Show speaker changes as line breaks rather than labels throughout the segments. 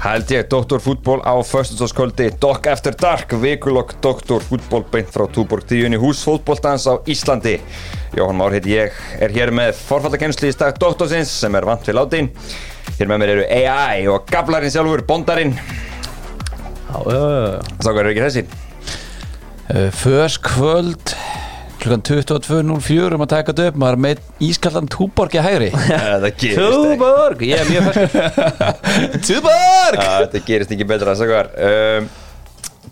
held ég, Doktorfútból á föstundsdagskvöldi Dog After Dark, vikulokk Doktorfútból beint frá Túborg 10 í hús fótbóltans á Íslandi Jóhann Már heiti ég, er hér með forfallakennsli í stað Doktorsins sem er vant við látin Hér með mér eru AI og Gablarinn sjálfur, Bondarinn
Já,
Sákar eru ekki þessi
Förskvöld Eh, klukkan 22.04 um að taka þetta upp maður er með ískaldan túborg í hægri
Það gerist ekki
Túborg, ég er mjög ferskur
Túborg!
Já, Þetta gerist ekki betra, sákar um,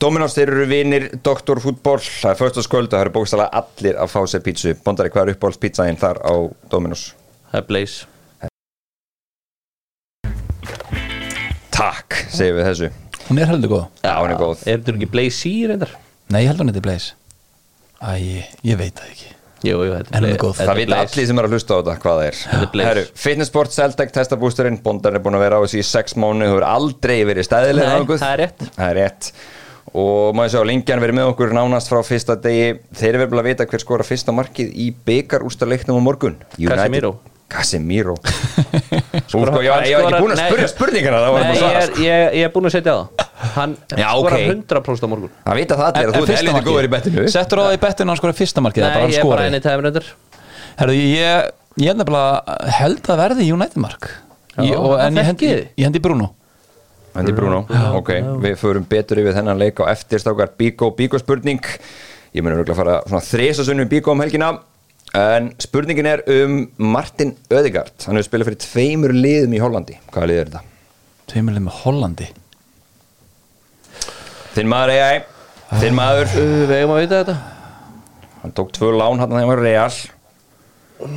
Dominós, þeir eru vinir, Doktorfútból Það er föstundsdagskvöld og það eru bókstala allir að fá sér pítsu Bondari, hvað er uppáhaldspítsaðinn þar á Dominós?
Það er Blaze
Takk, segjum við þessu
Hún er heldur góð
Já, hún er góð.
Er þetta ekki Blaze C reyndar?
Nei, ég held hún eitthvað Blaze Æ, ég veit það ekki
Jú, jú, þetta
En hún er
Blaze-
góð.
þetta
Það
er
vita
Blaze.
allir sem eru að hlusta á þetta hvað það
Þetta er
er
Blaze.
Herru, Fitnessport, Celtec, testabústurinn Bondan er búin að vera á þessu í sex mánu Þú hefur aldrei verið stæðilega
Nei, það er rétt
Það er rétt Og maður sjá, Lingjan verið með okkur nánast frá fyrsta degi Þeir eru verið að vita hver skora fyrsta markið í byggarústaleiknum á morgun United-
Casemiro.
Casemiro Úr, sko, ég var ég var
Hann
ekki búin að
skorar-
spurja
nei.
spurningana Það var
Nei,
bara að
ég
svara
er,
sko.
ég, ég er búin að setja það Hann
Já,
skorar
ok.
100% á morgun
Það vita það allir að þú ert helviti góður í bettinu
Settur á það í bettinu hann skorar fyrsta markið
Nei, ég er bara enn í tæmi reyndar
Herðu, ég, ég held nefnilega held að verði United mark
Já,
ég,
það
og, En ég hendi,
þekki þið.
ég hendi Bruno
Andy Bruno, ok, við förum betur yfir þennan leik á eftir stákar Bíko, Bíko spurning ég mun örgulega fara svona þresasunum Bíko um helgina en spurningin er um Martin Ödegard, hann hefur spilað fyrir tveimur liðum í Hollandi, hvaða lið er þetta?
Tveimurlega með Hollandi
Þinn maður AI, þinn maður
Uh, Við eigum að vita þetta
hann tók tvö lán hann að það var real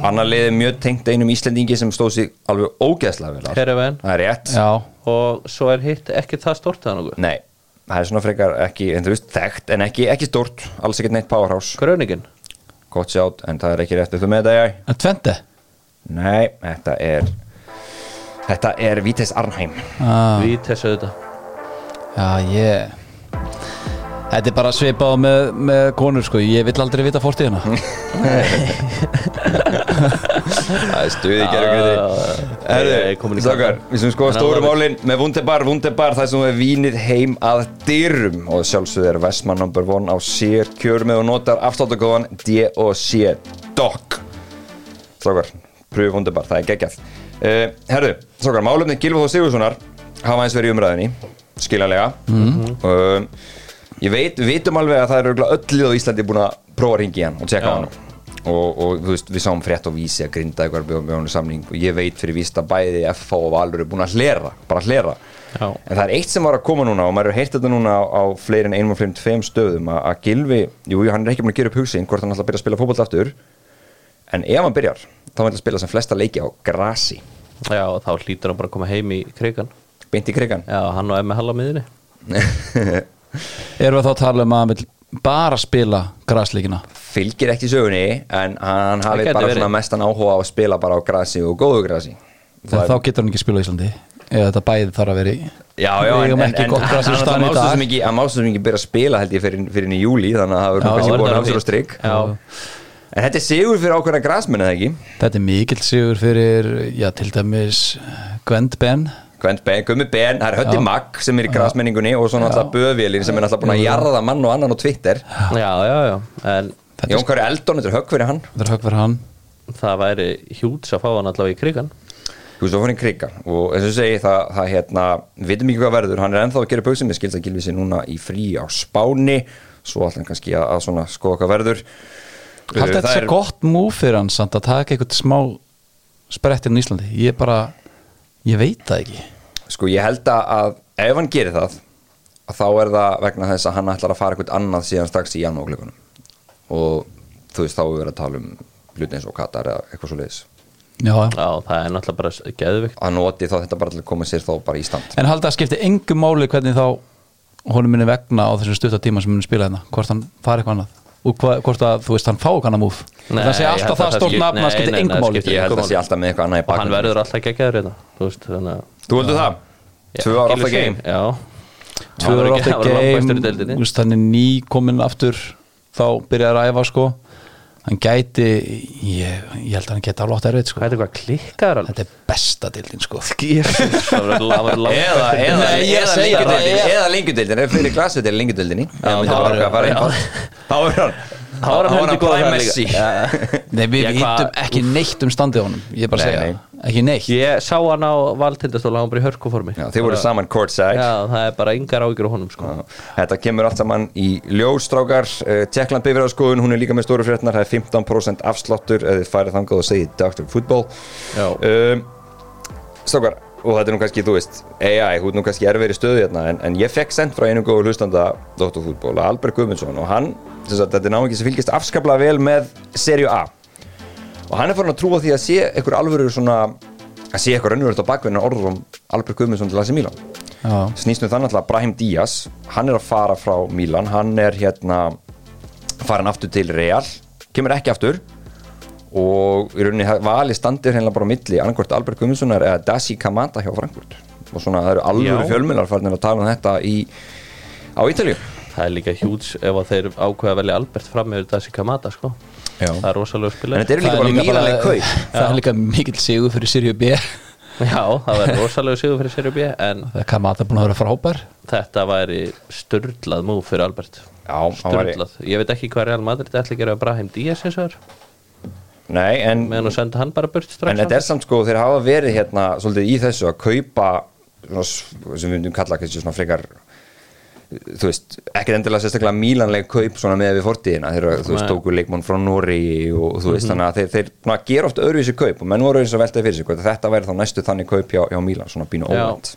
annar lið er mjög tengt einum Íslendingi sem stóð sér alveg ógeðslega vel að.
Keravan
það er rétt,
Já,
Og svo er hitt ekki það stort það nokkuð
nei það er svona frekar ekki, en þú veist, þekkt en ekki, ekki stórt, alls ekkert neitt powerhouse
Kröningin
gott sjátt, en það er ekki rétt eftir með þetta, jæ
en Tvente
Nei, þetta er Þetta er Vítis Arnheim
ah,
Við þessu auðvitað
Já, ég Þetta er bara svipað á með, með konur sko Ég vill aldrei vita fórtíðina
Það er stuði
Ah. Ég er komin í
Stokkar,
kakkan.
við sem skoða
Þannig að
stóru
það-
málin með Wunderbar, Wunderbar það sem er vínið heim að dyrum og sjálfsögð er Vestmann number one á sér kjör með og notar afsláttakóðan D og C DOC Stokkar, pröfu Wunderbar, það er geggjall uh, Herðu, stokkar, málefni Gilvóð og Sigurssonar hafa eins verið í umræðinni skiljanlega mm Ég veit, við vitum alveg að það er örugglega öll lið á Íslandi búin að prófa að ringi hann og tjekka á
Já.
hann og, og þú veist, við sáum frétt á vísi að grinda eitthvað með með honum samning og ég veit fyrir víst að bæði FH og Valur er búin að hlera bara hlera
Já.
en það er eitt sem var að koma núna og maður er heilt þetta núna á, á fleiri en einum og fleiri en tveim stöðum að, að Gilvi, jú, jú, hann er ekki búin að gera upp hugsin hvort hann ætla að byrja að spila fótboll aftur en ef hann byrjar, þá ætla að spila sem flesta leiki á grasi,
Já, og þá hlýtur hann bara að koma heim í krigan
beint í krigan
Já, hann og Emmi Halla á miðinni
Erum við þá að tala um að hann vill bara spila græsleikina
fylgir ekki sögunni en hann hafi
gæti
bara
verið.
svona mestan áhuga á að spila bara á grasi og góðu grasi
En þá getur hann ekki spila á Íslandi Eða þetta bæði þarf að vera í
Já, já,
Við
en,
eigum
en,
ekki
en
gott grasi á
hann
staðnum í dag.
másum ekki, hann másum ekki byrja að spila held ég fyrir, fyrir inn í júli þannig að það
Já,
verður kannski
það
búin
verður
að sér og
fínt.
strikk
Já.
En þetta er sigur fyrir ákveðna grasmenn eða ekki
Þetta er mikill sigur fyrir Já, til dæmis Gwend Ben
Gvend Ben, Gummi Ben, það er Hötti
Já.
Magg sem er í grasmenningunni og svo náttúrulega Böðvélin sem er náttúrulega búin að jarða mann og annan á Twitter
Já, já, já En
Þetta
Jón Kari Eldon, þetta er högg fyrir hann
Þetta er högg fyrir hann
það væri hjúts að fá hann allavega í krigan
Þú veist, þá fór hann í kriga og eins og ég segi það, það hérna, við vitum ekki hvað verður, hann er ennþá að gera buksum, ég skilst að gilvið sér núna í frí á Spáni, svo ætla hann kannski að, að svona skoða hvað verður.
Haldi
Það
þetta sé
er-
gott múf fyrir hann samt að taka eitthvað smá sprettir á Íslandi Ég bara, ég veit það ekki
Sko, ég held að- að ef hann gerir það, að þá er það vegna þess að hann ætlar að fara eitthvað annað síðan strax í janúarklökunum og þú veist, þá er við verið að tala um hluti eins og Katar eða eitthvað svo leiðis.
Já, já
Já, það er náttúrulega bara geðvikt
Að noti þá þetta bara til að koma sér þá bara í stand.
En haldið að skipti engum máli hvernig þá honum minni vegna á þessum stutta tíma sem minni spila hérna, hvort hann fari eitthvað annað og hva, hvort að, þú veist, hann fá eitthvað annað múf
Nei,
það sé
ég held
alltaf
að
það
það
stórt
skipti-
nafn að það
nei,
skipti
nei, nei,
engum
það
máli
skiptir-
Ég held að það sé alltaf með eitthvað annað í
og hann
bakgrunni.
verður alltaf geggjaður hérna þú veist, þannig að
Þú heldur það?
Já,
Tvö ára
Gylfi
alltaf
Sig,
game.
Já,
tvö
Það var
ára
ekki-
átta
það var langbæstur í
game
deildinni.
þú veist, hann er ný komin aftur þá byrjaði að æfa sko hann gæti ég, ég held að hann geti alveg átt erfið
Hvað
sko.
er eitthvað klikkaðar alveg?
þetta er besta dildin sko.
Það var það var langt
Eða,
eftir-
eða,
Nei, ég er
eða
að segja það,
lengjudeildin
ég-
Eða lengjudeildin, ef fyrir glasið er lengjudeildin
Já, þá er- já.
Þá er hann
Þá er hann heldur góður
prime
þar
Messi
líka.
Nei, við
Ég,
ég,
hvað-
hittum ekki neitt um standið á honum ég er bara að
Nei,
segja,
nei.
það. ekki neitt
Ég sá hann á valdtindastóla, hann var bara í hörkuformi
Já, Þið voru saman courtside
Já, það er bara yngar ágjur á honum sko.
Þetta kemur allt saman í Eh, ljóstrákar Tjekkland bifræðarskoðun, hún er líka með stóru fréttnar Það er 15% afsláttur eða þið farið þangað og segið Dr. Football
Já.
um, Strákar, og þetta er nú kannski, þú veist AI, hún er nú kannski erfið í stöðu hérna en, en ég fekk sent frá einu góðu hlustanda Dr. Football, Albert Guðmundsson og hann, sem sagt, þetta er náingi sem fylgist afskaplega vel með Serju A og hann er farin að trúa því að sé einhver alvöru svona að sé eitthvað raunverður á bakvinna orður um Albert Guðmundsson til AC Milan
Já.
snýst nú þannig að Brahim Díaz hann er að fara frá Milan hann er hérna farin aftur til Real kemur ekki aftur og í rauninni vali standir hérna bara á milli annarkvort Albert Gumminssonar eða Dasi Kamata hjá Frankfurt og svona það eru alvöru
Já.
fjölmjölar farin að tala um þetta í, á Ítalíu
Það er líka hjúts ef að þeir ákveða að velja Albert fram yfir þessi Kamata sko.
Já.
Það er rosalega
en
spilar
þetta eru
Það
líka
er
bara
líka bara-
mílanleg kaup
það er líka mikill sigur fyrir Siriu B
Já, það var rosalega sigur fyrir Serju B en
það er Kamata búin að vera frábær
þetta væri störlað múf fyrir Albert
Já, hann væri-
Störlað, ég veit ekki hvað Real Madrid ætla að gera við Brahim Díaz eins og þar
Nei, en,
meðan að senda hann bara burt strax
en þetta er samt sko þeir hafa verið hérna svolítið í þessu að kaupa svona, s- sem við myndum kalla kannski svona frekar þú veist, ekkert endilega sérstaklega mílanleg kaup svona með við fortíðina þeir eru, þú veist,
Nei. Mhm.
tóku leikmann frá Nóri og þú veist, þannig að þeir, þeir svona, gera oft öðruvísi kaup og menn voru eins og veltaði fyrir sig hvort að þetta væri þá næstu þannig kaup hjá, hjá Mílan, svona bínu
Já.
óvænt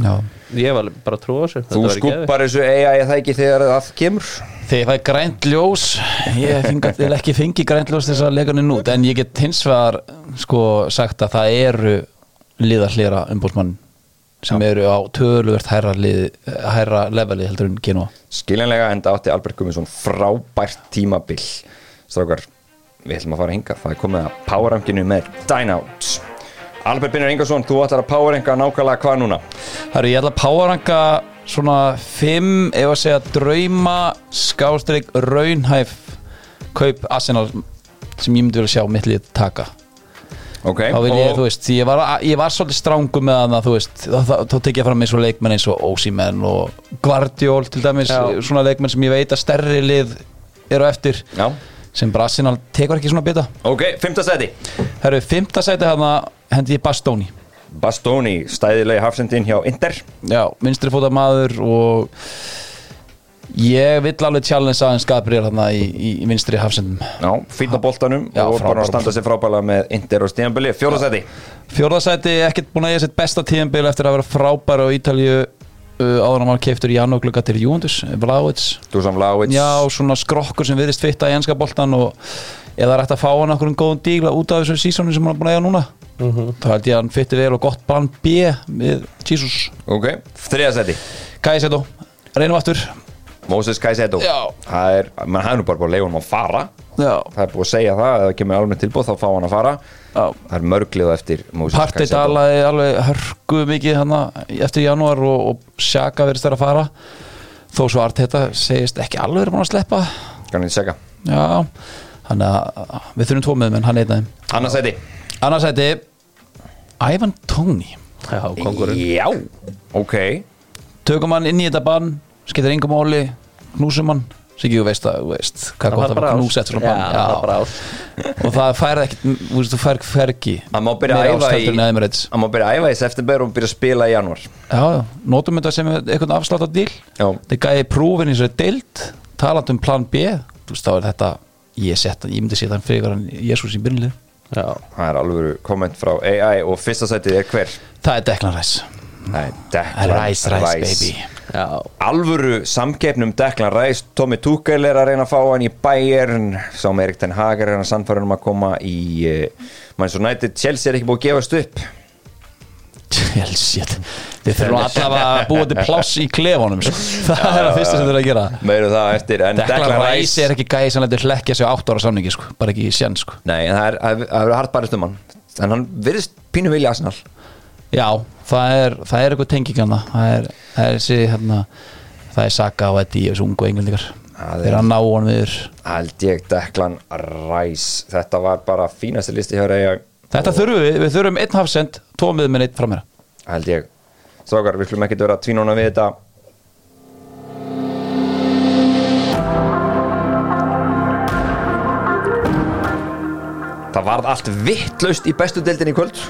Já.
ég var bara að trúa þessu
Þú
þetta væri geðveikt.
skúpar þessu AI það ekki þegar það kemur
þegar ég fæ grænt ljós ég fingat, vil ekki fengi grænt ljós þess að leikanin út en ég get hins vegar sko sagt að það eru liðarhlera umbúrsmann sem eru á töluvert hærra, lið, hærra leveli heldur en Genoa
Skiljanlega enda átti Albert Gumminsson frábært tímabil Strákar, við ætlum að fara hingað Það er komið að powerrankinu með Dynout Albert Binnar Ingarsson, þú ætlar að powerranka nákvæmlega hvað núna?
Herru, ég ætla að powerranka svona 5 ef að segja drauma skástrík raunhæf kaup Arsenal sem ég myndi vel að sjá mitt lið taka
Ok,
þá vil ég,
og
þú veist, því ég var, ég var svolítið strángu með hann að þú veist, þá, þá, þá tek ég fram eins og leikmenn eins og Ósímenn og Guardiol til dæmis,
Já.
svona leikmenn sem ég veit að stærri lið eru á eftir
Já,
sem bara Arsenal tekur ekki svona bita
ok, fymta seti
Herru, fymta sæti hérna hendi ég Bastóni
Bastoni, stæðilegi hafsendin hjá Inter
Já, vinstri fóta maður og ég vill alveg challenge aðeins Gabriel hérna í, í, í vinstri hafsendum
Já, fínn á boltanum
Já,
og bara
frábær.
að standa sér frábælega með Inter og Stjambili Fjóla seti
Fjórðasæti, ekkert búin að ég sitt besta tíðanbil eftir að vera frábær á Ítalíu uh, áður að maður keiftur í janúar glugga til Júndus, Vláits
Dusan Vlaovic
Já, svona skrokkur sem viðrist fitta í enska boltan og eða er hægt að fá hann okkur um góðan dígla út af þessu sísónu sem hann er búin að eiga núna þá held ég að hann fitti vel og gott plan B við Jesus
Ok, þriða seti
Kæsetó, reynum aftur
Moses Kaisedo
Já.
Það er, mann hafði nú bara búin að leifa hann að fara
Já,
Það er búið að segja það, ef það kemur alveg tilbúð þá fá hann að fara
já
Það er mörglið á eftir Moses
Partey
Caicedo.
dalaði alveg hörgu mikið hann eftir janúar og, og Sjaka verðist þær að fara þó svo Arteta segist ekki alveg er búin að sleppa
Kannið segja
Já, hann að við þurfum tvo með menn, hann eitnaði
Annarsæti
Annarsæti, Ivan Tóni
já, kongurinn
Já Ok
tökum hann inn í þetta bann skiptir engum óli, knúsum hann Siggi, þú veist að, þú veist hvað gott að
bara
vera
ás.
knúsett svona
Já,
bann
það var bara ás.
og það færði ekkert, þú veist, þú færð hvergi
Hann má byrja að
meira
æfa
ást
í
heldur en Emirates.
Hann má byrja að æfa í september og byrja að spila í janúar
já, já, notum þetta sem eitthvað afslátt að díl
Já.
það gæði prófin eins og deild taland um plan B, þú veist, þá er þetta ég sett, ég myndi setja hann fyrir hann Jésús í byrjunlið,
já,
Það er alveg komment frá AI og fyrsta sætið er hver
það er Declan Rice
Nei, Declan
Rice, Rice, baby
já,
Alvöru samkeppnum Declan Rice Tommy Tuchel er að reyna að fá hann í Bayern Sá með Erik Ten Hag er að reyna að sannfæra um að koma í uh, Manchester United Chelsea er ekki búið að gefast upp
Chelsea Við þurfum allavega að búa til pláss í klefunum sko. Það er að fyrsta sem þeir eru að gera
Meiru um það á eftir En
Declan Rice er ekki gæði sem lætur hlekkja sig á 8 ára samningi sko. bara ekki í sén sko.
Nei, en það er að vera hart barist um hann En hann virðist pínu vilja Arsenal
Já, það er, það er eitthvað tenging hann það er, það er þessi hérna, það er Saka og Eddie og þessu ungu englendingar
Það
þegar
er-
hann ná hann viður
held ég Declan Rice þetta var bara fínasti listi hjá reyja
Þetta þurfum við, við þurfum einn hafsend tvo miðmenn einn framherra
held ég strákar, við klum ekkert vera að tvínuna við þetta það varð allt vittlaust í bestu deildin í kvöld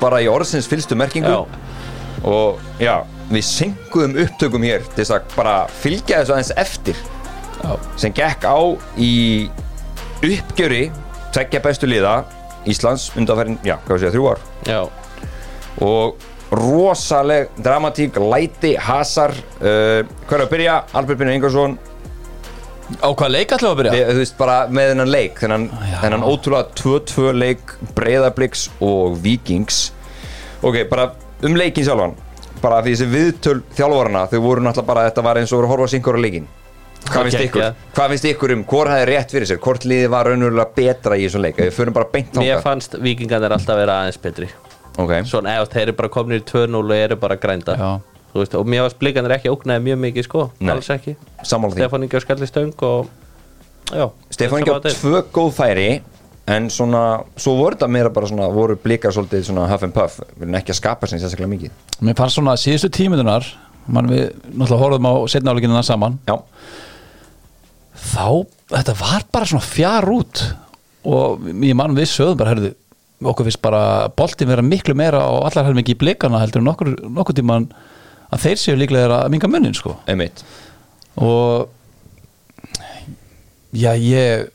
bara í orðsins fylstu merkingu
Já.
og já, við synguðum upptökum hér til þess að bara fylgja þessu aðeins eftir
Já.
sem gekk á í uppgjöri tveggja bestu liða Íslands undanferðin, já, hvað sé ég, þrjú ár
Já,
og rosaleg dramatík, læti, hasar uh, hver er að byrja? Albert Binu Ingersson
Á hvað leik ætlum við að byrja?
þú veist bara með þennan leik þennan, þennan ótrúlega 2-2 leik breyðabliks og vikings ok, bara um leikin sjálfan bara því þessi viðtöl þjálfarana þau voru náttúrulega bara, þetta var eins og voru að horfa á sinkora leikin hvað
Ok,
finnst ykkur?
ja.
Hvað finnst ykkur um hvort hefði rétt fyrir sér? Hvort liðið var raunverulega betra í þessum leik? Ef Við förum bara beint
mér
þangað
fannst vikingarnir alltaf vera aðeins betri
Ok,
Svona, eða þeir eru bara komnir í 2-0 og eru bara grænda
Já.
Þú veist, Og mér fannst blikarnir ekki ógnaði mjög mikið sko
Nei.
Alls ekki
sammála því
Stefán Ingi á skalli stöng og Já,
Stefán ekki
þetta
á
var þetta.
tvö góð færi En svona, svo voru þetta meira bara svona Voru blikar svolítið svona huff and puff Við erum ekki að skapa sér sérstaklega mikið
Mér fannst svona að síðustu tíminunar mann við náttúrulega horfum á setnáleikinina saman
Já,
þá, þetta var bara svona fjár út og ég mann við sögðum bara, herðu, okkur finnst bara boltin vera miklu meira og allar hefðum ekki í blikana heldur en nokkur, nokkur tíman að þeir séu líklega að minga munnin sko
einmitt
og já, ég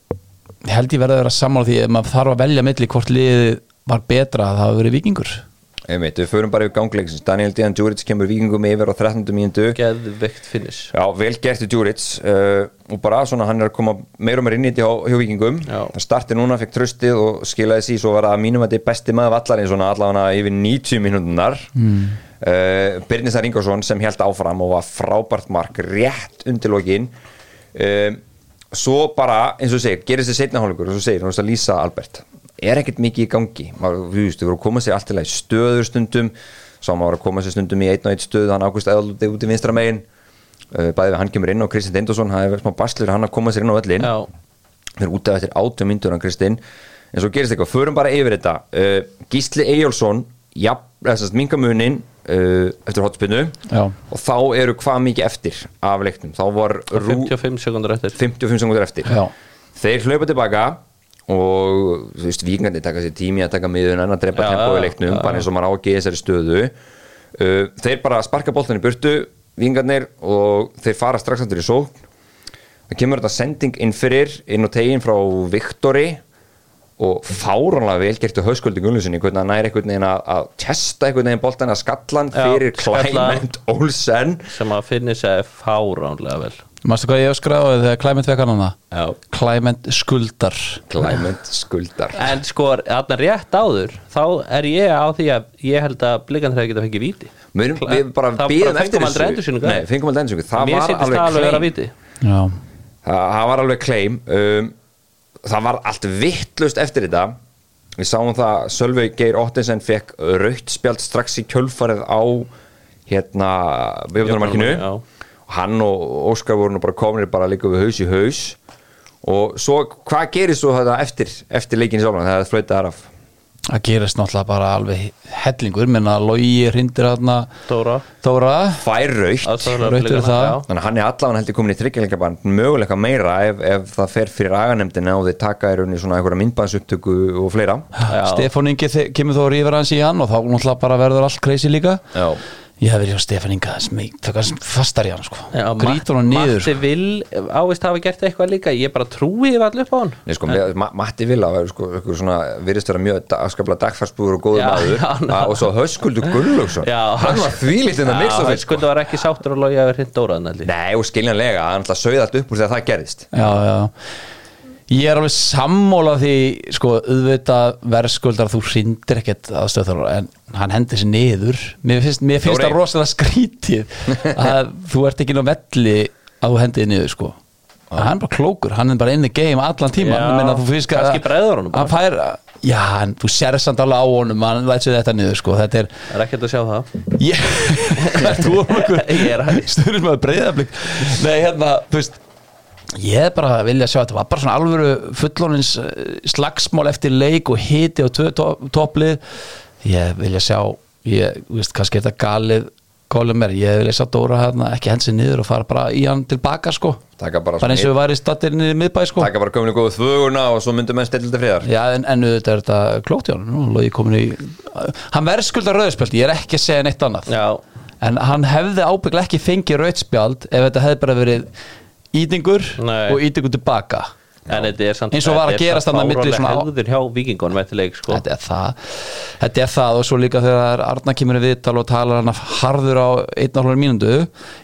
held ég verði að vera sammála því ef maður þarf að velja milli hvort liðið var betra að það hafa verið vikingur
Einmitt, við förum bara yfir gangleiksins Daniel Díðan Djuric kemur vikingum yfir á 13. mínútu
Geðveikt finish
Já, vel gert í Djuric uh, og bara svona hann er að koma meira og meira inn í þetta hjá, hjá vikingum
Já.
það starti núna, fekk tröstið og skilaði sí svo var það að mínum að þetta er besti maður vallarinn svona allavega yfir 90 mínúndunar mm. uh, Birnisar Ingersson sem held áfram og var frábært mark rétt undir lokin um, svo bara, eins og þú segir gerist þið seinna hálfleikur, eins og þú segir, hún veist að lýsa Albert er ekkert mikið í gangi maður, þú veist, þú voru að koma sér allt til að stöður stundum svo maður var að koma sér stundum í einn og einn stöð hann ákvist eða út í vinstra megin Uh, bæði við hann kemur inn og Kristinn Dindarsson það er smá baslur hann að koma sér inn á öllin
Já,
við erum út af eftir átjum myndur hann Kristinn en svo gerist eitthvað, förum bara yfir þetta uh, Gísli Eyjálsson mingamunin uh, eftir hotspinnu
Já.
og þá eru hvað mikið eftir af leiknum þá var Rú
55 sekundur eftir
55 sekundur eftir
Já.
þeir hlaupa tilbaka og þú veist, vikingandi taka sér tími að taka miðunan að drepa
Já,
tempo í
já,
leiknum,
já,
bara eins og maður ágið þessari stöðu uh, þeir bara sparka boltan í burtu vikingarnir og þeir fara strax aftur í sókn það kemur þetta sending inn fyrir inn á tegin frá Viktori og fárónlega vel gertu hauskuldi Gunnlausinni, hvernig hann næri einhvern veginn að, að testa einhvern veginn boltan að skallan
Já,
fyrir
skalla.
Clement Olsen
sem að finishaði fáránlega vel
Manstu hvað ég öskraði þegar Clement vekkan hana?
Já.
Clement skuldar
Clement skuldar
En sko, þarna rétt áður þá er ég á því að ég held að blikandir hefði geta fengið víti
Við, erum, við bara
Það-
býðum
bara
eftir
fengum aldrei endursýningu.
Nei, fengum aldrei endursýningu Það
Mér
var
sýndist það
alveg
alveg að vera
claim
víti
Já,
Það það var alveg claim um, Það var allt vittlust eftir þetta Við sáum það Sölvi Geir Ottinsen fekk rautt spjald strax í kjölfarið á hérna viðbjörnumarkinu
Já.
og hann og Óskar voru nú bara kominir bara líka við haus í haus og svo hvað gerist svo þetta eftir eftir leikin sjálfan þegar það flöytið þar af
það gerist náttúrulega bara alveg hellingur menna logi hrindir þarna
Dóra
Þóra
fær rautt
aðstoðarmaður
Rautt fyrir
Blikana,
það.
já.
Þannig að hann er allavega heldur komin í tryggjalingaband möguleika meira ef, ef það fer fyrir aganemdina og þeir taka í rauninni svona einhverja myndbæðsupptöku og fleira
Já.
Stefán Ingi þe- kemur þó að rífa hans í hann og þá náttúrulega bara verður allt crazy líka
Já.
Ég hef verið á Stefán Inga það er fastar í hann sko
Já,
Grítur
Matt-
hann niður sko.
Matti Vil ávist hafa gert eitthvað líka ég bara trúi yfir allir upp á hann
Nei, sko, með, Ma Matti Villa var sko, einhver svona, virðist vera mjög da- afskaplega dagfarsbúður og góður
Já,
maður
já, ná.
að, og svo Höskuldur Gunnlaugsson
Já.
hann var þvílítið en að mixa
Já,
þess sko.
sko, það var ekki sáttur að loja yfir hinn Dóra þannig að
Nei, og skiljanlega, hann ætla að sauða allt upp úr þegar það gerðist
Já, já Ég er alveg sammála því sko, auðvitað verðskuldar þú hrindir ekkert aðstöðþjálfara en hann hendir sér niður Mér finnst, mér finnst
Dóri.
það rosalega skrítið að þú ert ekki ná velli að þú hendið niður sko En hann er bara klókur, hann er bara inn í game allan tíma
Já, kannski bregður honum bara.
hann fær, Já, hann, þú sér samt alveg á honum hann lætur þetta niður sko Þetta er,
það er ekkert að sjá það
ég, hvað er þú um okkur
Ég er að-
stundum að breyða blik Nei, hérna, þú veist Ég er bara að vilja sjá þetta var bara svona alvöru fullonins eh, slagsmál eftir leik og hiti og tvö to- topplið Ég vilja sjá, ég þú veist kannski er þetta galið gólum er, ég vilja sjá Dóra hérna ekki hensi niður og fara bara í hann tilbaka sko
Taka bara
bara eins og við væri stattir niður í miðbæ sko
taka bara gömlu góðu þvöguna og svo myndum menn stillita friðar
Já, en, en auðvitað er þetta klókt í hann nú, logi komin í hann verðskuldar rauðspjaldi, ég er ekki að segja neitt annað
Já.
en hann hefði ábygglega ekki fengið rauðspjald ef þetta hefði bara verið ítingur
Nei.
og ítingur tilbaka
En þetta er samt
Eins og var að
þetta er
gerast
samt
þarna milli
fáránleg
svona á-
Hefðir hjá vikingunum eftir leik sko
þetta er það þetta er það og svo líka þegar Arna kemur í viðtal og talar hann af harður á einn og hálfur mínundu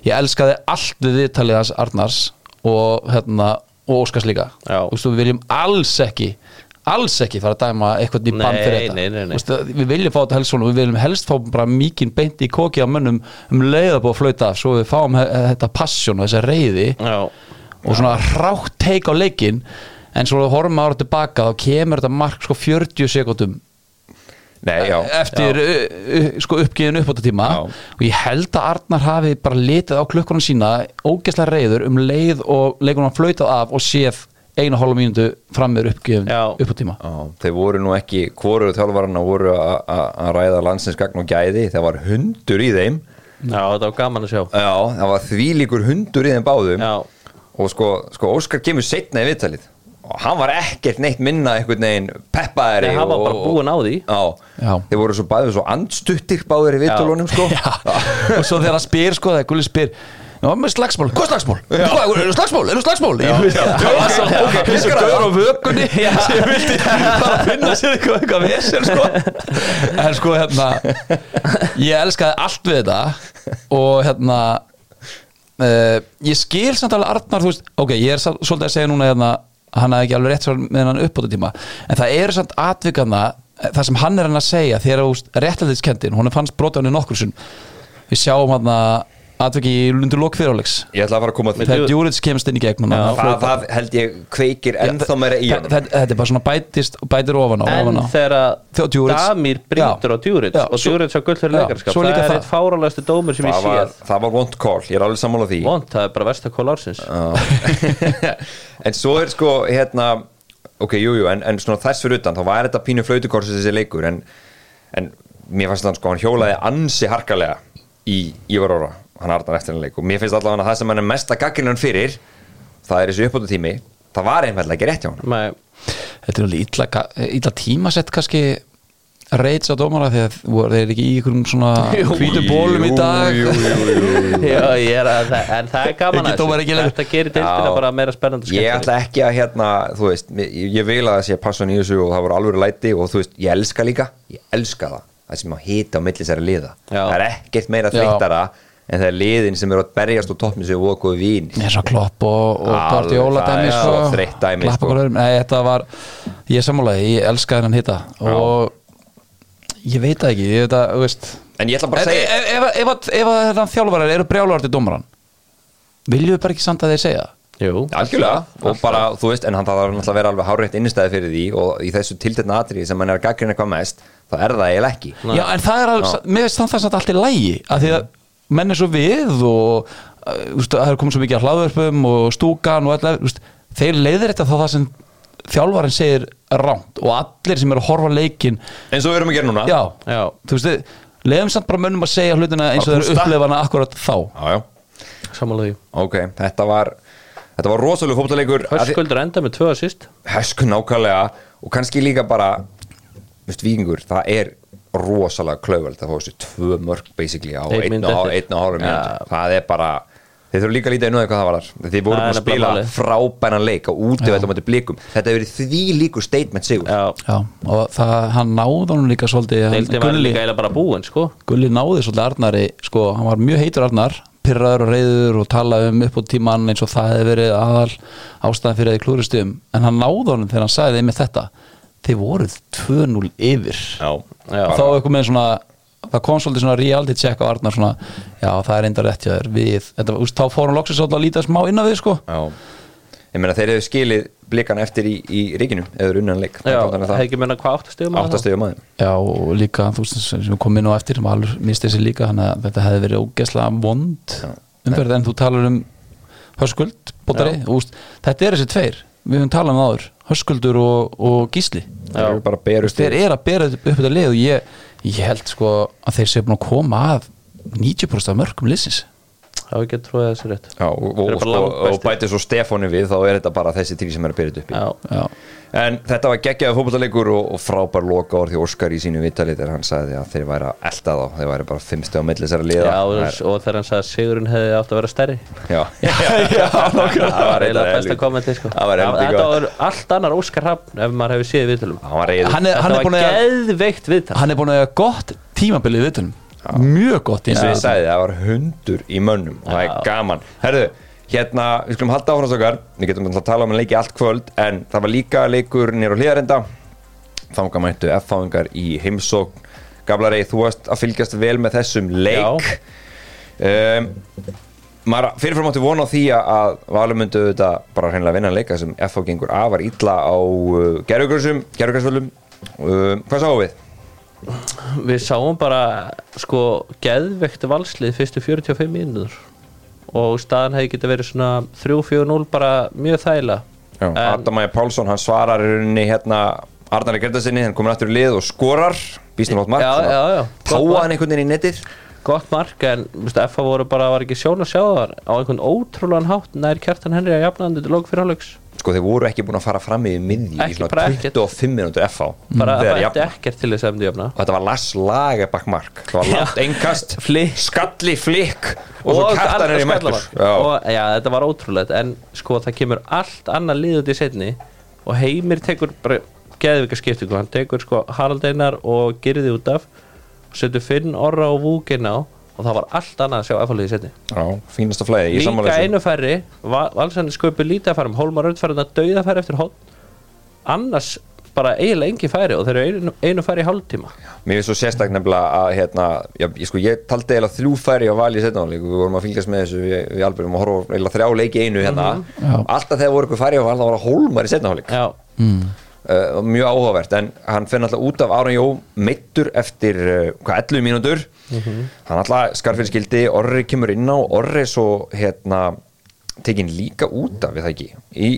ég elskaði allt við viðtalið hans Arnars og hérna og Óskars líka
Já.
Þú veist, við viljum alls ekki alls ekki fara að dæma eitthvað í
Nei,
bann fyrir þetta
nei, nei, nei.
Þú veist, við viljum fá þetta helst svona við viljum helst fá bara mikinn beint í koki á mönnum um leiðabóð að flauta af svo við fáum he- þetta passion og þessa reyði
Já,
og svona rátt teik á leikin en svo horfum ára tilbaka þá kemur þetta mark sko 40 sekundum
Nei, já,
eftir uh, uh, sko uppgifin uppbóttatíma
Já.
og ég held að Arnar hafi bara litið á klukkunum sína ógeðslega reyður um leið og leikunum flöytað af og séð einu hálfa mínútu fram með uppgifin
Já.
uppbóttatíma
já Þeir voru nú ekki, hvoruðu þjálfarana voru að- að að ræða landsins gagn og gæði Það var hundur í þeim
já þetta var gaman að sjá
Já, það var þvílíkur hundur í þeim báðum
Já,
Og sko, sko Óskar kemur setna í viðtalið Og hann var ekkert neitt minna einhvern veginn peppaðari
Nei, hann var
og-
bara búinn á því.
Já,
Já.
þeir voru svo bæðið svo andstuttir báðir í viðtalunum sko
og svo þegar hann spyr sko þegar Gulli spyr Nú, með slagsmál, hvað er slagsmál? Hvað, er slagsmál? Er slagsmál? Já, já, já, já, já, ok, eins og gaur á vökunni sem vildi bara finna sér eitthvað, eitthvað vesel, sko en sko, hérna ég elskaði allt við þetta og hérna uh, ég skil samt alveg Arnar, þú veist ok, ég er sal- svolítið að segja núna hérna hann hafði ekki alveg rétt svar með hann uppbóta tíma en það eru samt atvikana það sem hann er hann að segja þegar þú veist, réttlætiskendin, hún fannst brota hann í nokkursun við sjáum hann að atviki í lundu lok fyrirleiks
Ég ætla að fara að koma að því
þegar Djúrits kemst inn í gegnum
það, það, það held ég kveikir ennþá meira í hann
þetta þetta er bara svona bætist og bætir ofan á
en
ofan á.
þegar
Þjó-
að
Djurits.
Damir
Já.
brýtur á Djurits
Já,
og
svo-
Djurits á gull fyrir
Já,
leikarskap
svo
Það
líka
er
það.
eitt fárálægstu dómur sem ég
það var,
séð
það var vond call, ég er alveg sammála því
Vont, það er bara versta kól ársins
en svo er sko hérna ok, jújú, jú, en, en svona þess fyrir utan þá var þetta pínu flautukorsi þessi leikur en, en mér fannst þann sko hann hjólaði ansi harkalega í Ívar Óra, hann hartan eftir hann leik og mér finnst allavega að það sem hann er mesta gagginnan fyrir það er þessi uppbóta tími það var einfallega ekki rétt hjá hann
Nei,
þetta er alveg illa, ka- illa tímasett kannski reits á dómara þegar voru þeir ekki í einhverjum svona hvítum bólum í dag
jú, jú, jú, jú, jú.
Já, ég er að það, en það er gaman
Ekki
að
dómar, ekki
þessu.
leikur.
Þetta gerir deildina
Já.
bara meira spennandi og
ég
skemmtileg.
ætla ekki að hérna þú veist, ég, ég vil að það sé passun í þessu og það voru alveg læti og þú veist, ég elska líka ég elska það, það sem að hita á milli sér að liða,
Já.
það er ekkert meira
Já.
þreytara en það er liðin sem eru að berjast og toppin sem vokuðu vín
Ég er svo klopp og, og
Alveg,
Guardiola
það
dæmi
er
sko,
svo þreytt dæmi,
klappa
sko.
hvor öðrum. Nei, þetta var, ég sammálaði, ég elska hennan hitta og ég veit það ekki, ég veit að, þú veist
en ég ætla bara
En
að
ef,
segja
ef, ef, ef, að- ef að þetta þjálfarar eru brjálarti dómaran viljum við bara ekki samt að þeir segja það?
Jú,
algjörlega og bara, þú veist, en hann það var náttúrulega að vera alveg hárétt innistæði fyrir því og í þessu tiltetna atriði sem hann er að gaggrina hvað mest það er það eiginlega ekki
Já, en það er alveg, mér veist þannig að það er alltaf lægi að því að menn er svo við og uh, úst, það er komið svo mikið að hlaðverfum og stúkan og alltaf, úst, þeir leiðir þetta þá það sem þjálfarinn segir rámt og allir sem eru að horfa á leikinn
eins og við erum að gera núna
já,
Já.
þú veist, þið- leiðum samt bara mönnum að segja hlutina
Að
eins og þeir eru
pústa.
upplifana akkurat þá
já, já.
sammála því
ok, þetta var þetta var rosalega fótbollleikur Af því-
Hörskuldur enda með tvö assist
hesku nákvæmlega og kannski líka bara veist, vikingur, það er rosalega klauvöld að fá þessu tvö mörg basically á
Einn
einn
mínútu
og hálf-
eftir.
einn og hálfur
Ja.
mínútu það er bara, þeir þurfum líka að lítið einu eða hvað það var þar þeir voru
Það er
búin að
nefnilega
spila
málið.
frábænan leik á útivældum á þetta blikum þetta hefur verið því líkur statement sigur
Já,
já, og það, hann náði honum líka svolítið, hann-
deildin var líka eða bara búin sko
Gulli náði svolítið Arnari sko, hann var mjög heitur Arnar pyrraður og reyður og talaði um upp á tímann eins og það hefði verið aðal ástæðan fyrir að þið klúristum en hann náði honum þegar hann sagði þeim með þetta þið voruð 2-0 yfir
Já.
þá eitthvað með svona það kom svolítið svona reality check á Arnar svona, já það er enda rétt hjá þér við, þetta, úst, þá fór hann loksins svolítið að líta smá innan við sko
Já. ég meina þeir hefur skilið blikan eftir í, í ríkinu eða runnan leik
Já, hefði ekki menna hvað áttastegum
áttastegum aðeins
Já, og líka þú veist sem við komum inn á eftir, Valur misti sér líka þannig að þetta hefði verið ógesla vond umferð en þú talar um Höskuld, Bóttari, úst, þetta er þessi tveir við höfum talað um það áður, Höskuldur og, og Gísli
Það eru bara berust
þeir eru að bera upp þetta lið og ég, ég held sko að þeir séu búin að koma að 90% af mörgum liðsins
Það var ekki að tróða þessu rétt
Já, og, og,
Þeir eru bara
sko, og
langbestir.
bætið svo Stefáni við þá er þetta bara þessi tíri sem er að byrja upp í
Já,
Já.
en þetta var geggjaði fótballalegur og, og frábær loka orð því Óskar í sínu vittalit þegar hann sagði að þeir væri að elda þá þeir væri bara fimmstu á milli þessara liða
já og þegar hann sagði að Sigurinn hefði átt að vera stærri
já, já, já nokkuð.
Það var eiginlega besta kommenti sko.
það var heldig
Þetta
gott
var allt annar Óskar Hafn ef maður hefur séð viðtölum
hann var reyður
hann er, hann
Þetta
er
var
búin að
geðveikt viðtal
hann er búin að hafa gott tímabilið í viðtunum mjög gott í
eins og ég
þessu
sagði, það var hundur í mönnum og það er gaman herðu, hérna, við skulum halda áfram okkar við getum náttúrulega að tala um að leiki allt kvöld en það var líka leikur nýr á hlýðarenda þanga mættu F-fáðingar í heimsókn Gabla Rey, þú varst að fylgjast vel með þessum leik um, maður fyrirfram átti vona á því að Valur myndu þetta bara hreinlega vinna leika sem F-fá gengur afar illa á uh, gerðugræsum, gerðugræsvöldum um, hvað sáum við?
Við sáum bara sko geðveikt valslið fyrstu 45 mínútur og staðan hefði getið verið svona 3-4-0 bara mjög þæla
Já, Adamæja Pálsson, hann svarar í rauninni hérna Arnari Gertarsinni, hann komur aftur í lið og skorar býstum átt mark,
Já,
svona,
já, já. Gott
táa
mark.
hann einhvern veginn í netið
gott mark en veist, FA voru bara var ekki sjón að sjá þar á einhvern ótrúlegan hátt nær kjartan Henry að jafna hann til lók fyrir hálfleiks
sko þeir voru ekki búin að fara fram í miðju
Ekki,
í svona
bara ekkert.
25 minútur FH
bara
þegar
bætti
Mm, jafna.
ekkert til þess að MD jafna
og þetta var Lars Lagerbakk mark það var langt engast,
Flikk.
skalli flikk og, svo
annar
kjartan er í mættur
skallamark. og já, þetta var ótrúlegt en sko það kemur allt annað lið út í setni og Heimir tekur bara geðvika skiptingu, hann tekur sko Harald Einar og Girði út af og setur Finn Orra og Vúkin á og það var allt annað að sjá FH liðið í setni
já, fínasta flæði í
líka
samanlega
einu færri Valsandi sköpu lítið að færum, Hólmar Rönd færðin að dauða færri eftir hótt annars bara eiginlega engi færi og þeir eru einu, einu færi í hálftíma
Mér finnst svo sérstak nefnilega að hérna, já, ég, sko, ég taldi eiginlega þrjú færi á vali í setnáleik, við vorum að fylgjast með þessu við, við alveg erum að horfa á eiginlega þrjá leiki í einu hérna, alltaf þegar voru ykkur færi á vali þá var það hólmar í setnáleik,
já,
uh, mjög áhugavert en hann fyrir alltaf út af Áran Jó meittur eftir, uh, hvað, 11 mínútur hann alltaf skarfinn skildi Orri kemur inn á, Orri svo hérna, tekin líka út af við það ekki, í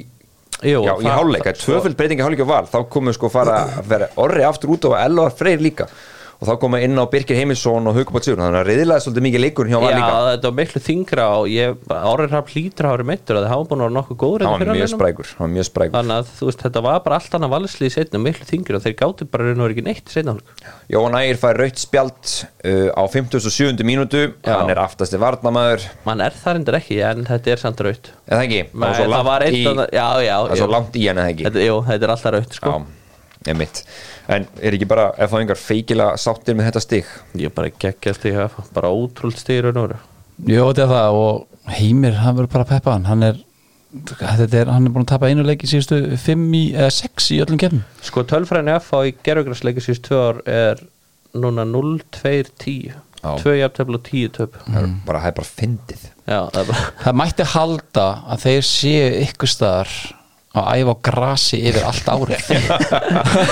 Jú,
Já, í
það-
háluleika,
það-
tvöföld breytinga háluleika val þá komu sko fara að vera orri aftur út og Elvar Freyr líka og þá koma inn á Birkir Heimisson og Haukubátt Sigur þannig að reyðilega svolítið mikið leikurinn hjá val
Já,
líka
þetta var miklu þingra og ég, Orri Rapp hlýtur að hafa verið meittur að það hafa búin að vera nokkuð góður
hann
hérna
var
fyrir
mjög
hann
sprækur, hann var mjög sprækur.
Þannig að þú veist, þetta var bara allt annað valslið í setna, miklu þingra og þeir gáttu bara raun og verið ekki neitt í setna hálfleik.
Jóhann Ægir fær raut spjald uh, á 57. mínútu
Já.
hann er aftasti varnamæður
Man er það reyndar ekki, en þetta er samt raut.
eða ekki,
Nei,
var svo
það
langt
var eitt
í-
annað- já, já,
það er
já.
svo langt í hann eða ekki
Þetta, jú, þetta er alltaf raut, sko.
já, emitt en er ekki bara, ef það engar feikila sáttir með þetta stig
Ég er bara geggjast í HF, bara ótrúld stig í raun og verið.
Jó, þetta er það og Heimir, hann verður bara að peppa hann hann er, þetta er, hann er búin að tapa einu leik í síðustu 5 í, eða 6 í öllum kefnum
Sko, tölfræðin í HF í gerðugræsleiki síðust tvö ár er núna 0-2-10.
Já.
Tvö jafntöfl og tíu töfl.
það er bara, það er bara fyndið
Já, það er bara...
Það mætti halda að þeir séu ykkur staðar að æfa á grasi yfir allt árið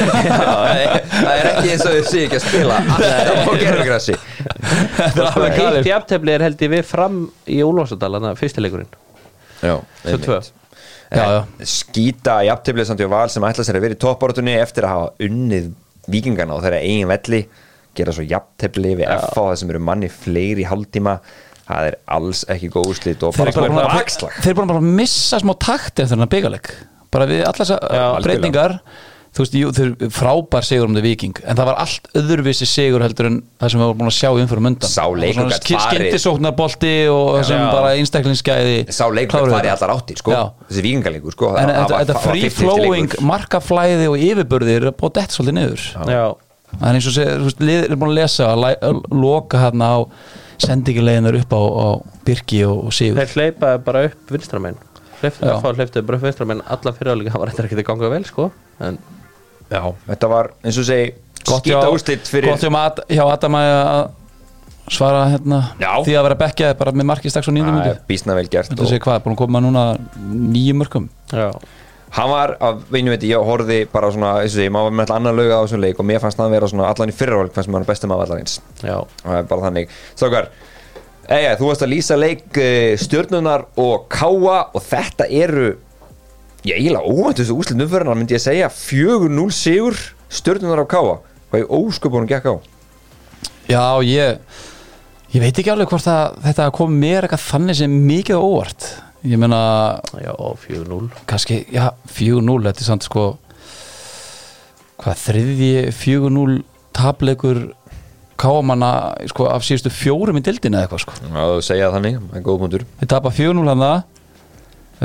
það er ekki eins og þau séu ekki að spila alltaf á gerðugrassi
Þetta er alveg
Eitt
galið
jafntöfli er held ég við fram í Úlfarsadalana, fyrstileikurinn. Svo tvö.
Já, já.
skýta jafnteflið samt hjá val sem ætla sér að vera í toppbáratunni eftir að hafa unnið vikingana og þeirra eigin velli gera svo jafnteflið við FH það sem eru manni fleiri í hálftíma það er alls ekki góð úrslit og
Þeir eru
bara
bara búin
komið
að-
bakslag
þeir eru bara að missa smá takt eftir þennan byggaleg bara við allar
Já,
þessar uh, breytingar þú veist, jú, þeir eru frábær sigur um þetta viking en það var allt öðruvísi sigur heldur en það sem við vorum búin að sjá umfyrir mundan
Sá leikur gat farið.
skyndisóknarbolti og það sem
Já.
bara einstaklingsgæði
sá leikur
kláruðu
var í
þetta.
allar áttir sko,
Já.
þessi vikingaleikur sko
en
það
þetta-
var-
þetta
það var
free
50-50 leikur.
flowing markaflæði og yfirburðir er búin að dett svolítið niður
Já.
það er eins og segir, þú veist, lið er búin að lesa að læ- að loka hérna á sendingileginar upp á, á Birki og, og Sigur
Þeir hleypaði bara upp vinstramenn
Já.
Þá hleyptaði bara upp vinstramenn Alla fyrirháleika, það var eitthvað ekki að ganga vel sko En
Já, þetta var eins og segi
gott
skýta úrslit fyrir
gott hjá, Ad, hjá Adam að að svara hérna
Já.
því að vera bekkjaði bara með markið stakks og nýndum
Það
myndu
er býsna vel gert
Þetta
og-
sé hvað, búin að koma núna nýjum mörgum
já,
hann var að vinnu veit ég horfði bara svona eins og því, maður var með alltaf annar lög á þessum leik og mér fannst það að vera svona allan í fyrrarvöld fannst maður bestum af allan eins
já
það er bara þannig, strákar Eja, þú varst að lýsa leik eh, stjörnunar og káa og þetta eru ég eiginlega óvæntustu úslit umfyrirna myndi ég segja 4-0 sigur stjörnunar á káa hvað í ósköpunum gekk á
Já, ég ég veit ekki alveg hvort að þetta kom mér eitthvað þannig sem mikið á óvart ég meina,
Já, 4-0
kannski, já, 4-0 þetta er samt sko hvað þriðji 4-0 tapleikur káamanna sko, af síðustu fjórum í dildinu eða eitthvað sko
Já, þú segja það þannig, það er góð punktur
Þeir tapa 4-0 hann það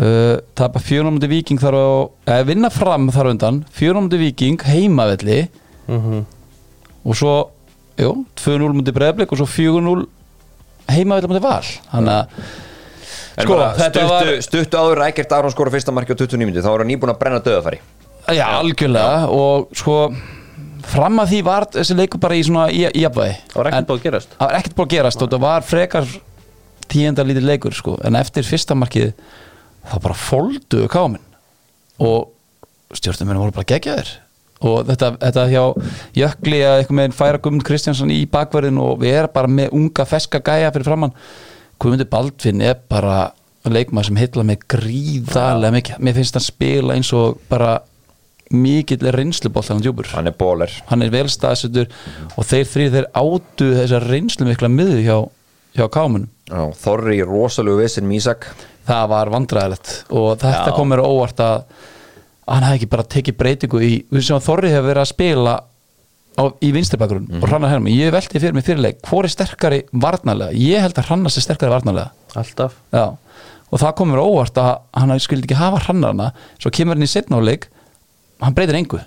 uh, Tapa 4-0 mútið Viking þar á eða vinna fram þar á undan 4-0 mútið Viking, heimavelli
Mhm.
og svo jú, 2-0 mútið Breiðblik og svo 4-0 heimavelli mútið Val Þannig að
En
Sko,
bara
þetta
stuttu,
var-
stuttu áður Rækert Aron skora fyrsta marki á 29 minni þá er hann nýbúin að brenna döðafæri
Já, algjörlega og sko fram að því var þessi leikur bara í svona í, í jafnvægi
Það var
En-
ekkert búið að gerast
það var ekkert búið að gerast og það var frekar tíenda lítið leikur sko. en eftir fyrsta markið þá bara fólduðu kámin og stjórnuminn voru bara geggjaðir og þetta, þetta hjá Jökli að eitthvað meginn færa Guðmund Kristjánsson í bakverðin og við erum bara með unga feska gæja fyrir framann Guðmundur Baldvin er bara leikmaður sem hitla mig gríðarlega mikið mér finnst hann spila eins og bara mikill reynslubolt hann djúpur
hann er bóler
hann er vel staðsettur og þeir þrýr þeir átu þessar reynslu mikla miðu hjá, hjá kámunum
Já, Þorri í rosalegu vissin Mísak
það var vandræðilegt og þetta
Já.
kom mér á óvart að að hann hefði ekki bara tekið breytingu í við sem að Þorri hefur verið að spila á, í vinstibakrun og hrannar hennum ég velti fyrir mig fyrirleik, hvor er sterkari varnarlega ég held að hrannar sé sterkari varnarlega
Alltaf
Já. og það kom mér á óvart að hann skildi ekki hafa hrannarna svo kemur hann í setnáleik hann breytir engu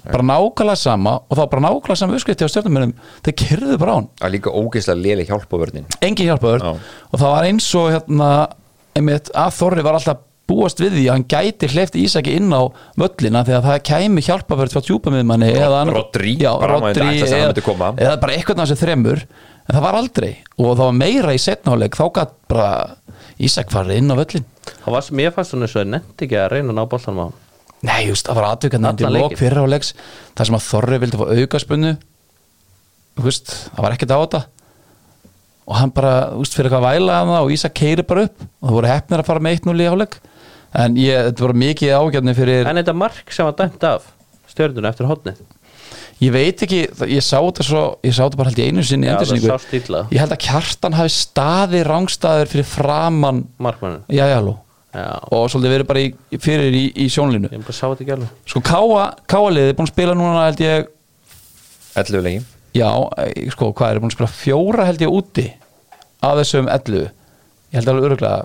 bara nákvæmlega sama og þá bara nákvæmlega sama uppskrifti á stjórnumönum þeir kyrðu bara á hann,
að líka ógeðslega léli hjálpavörðin
engin hjálpaður
Já.
og það var eins og hérna einmitt, að Þorri var alltaf búast við því að hann gæti hleyfti Ísaki inn á völlina þegar það kæmi hjálpaverð frá djúpamiðmanni eða annar-
Rodri,
já,
bara maður
Rodri
ætlaði að hann myndi
eða,
koma.
eða bara eitthvað af þessu þremur en það var aldrei og það var meira í setnáleik þá gætt bara Ísak farið inn á völlin
Það var sem ég fannst hún eins og ég nefndi ekki að reyna að ná boltanum á hann.
Nei, just, það var aðtökan
Alla
undir lók
leikinn.
fyrir áleiks þar sem að Þorri vildi fá aukaspunnu Þú veist, það var ekkert á þetta og hann bara, þú veist, fyrir eitthvað að væla hann og Ísak keiri bara upp og það voru hefnir að fara með 1-0 í áleik en ég, þetta voru mikið ágjörni fyrir
En þetta mark sem var dæmt af Stjörnuna eftir hodnið
ég veit ekki, það- ég sá þetta svo ég sá þetta bara held ég einu sinni í
Já, það
endursýningu.
sást illa.
ég held að kjartan hafi staði rángstaður fyrir framann
Markmannin
jæjalú
Já
og svolítið verið bara í, fyrir í, í sjónlínu
Ég bara sá þetta ekki alveg
sko Káa, Káa liðið er búin að spila núna held ég
11 leiki
Já, eh, sko, hvað er búin að spila fjóra held ég úti af þessum 11 ég held alveg öruglega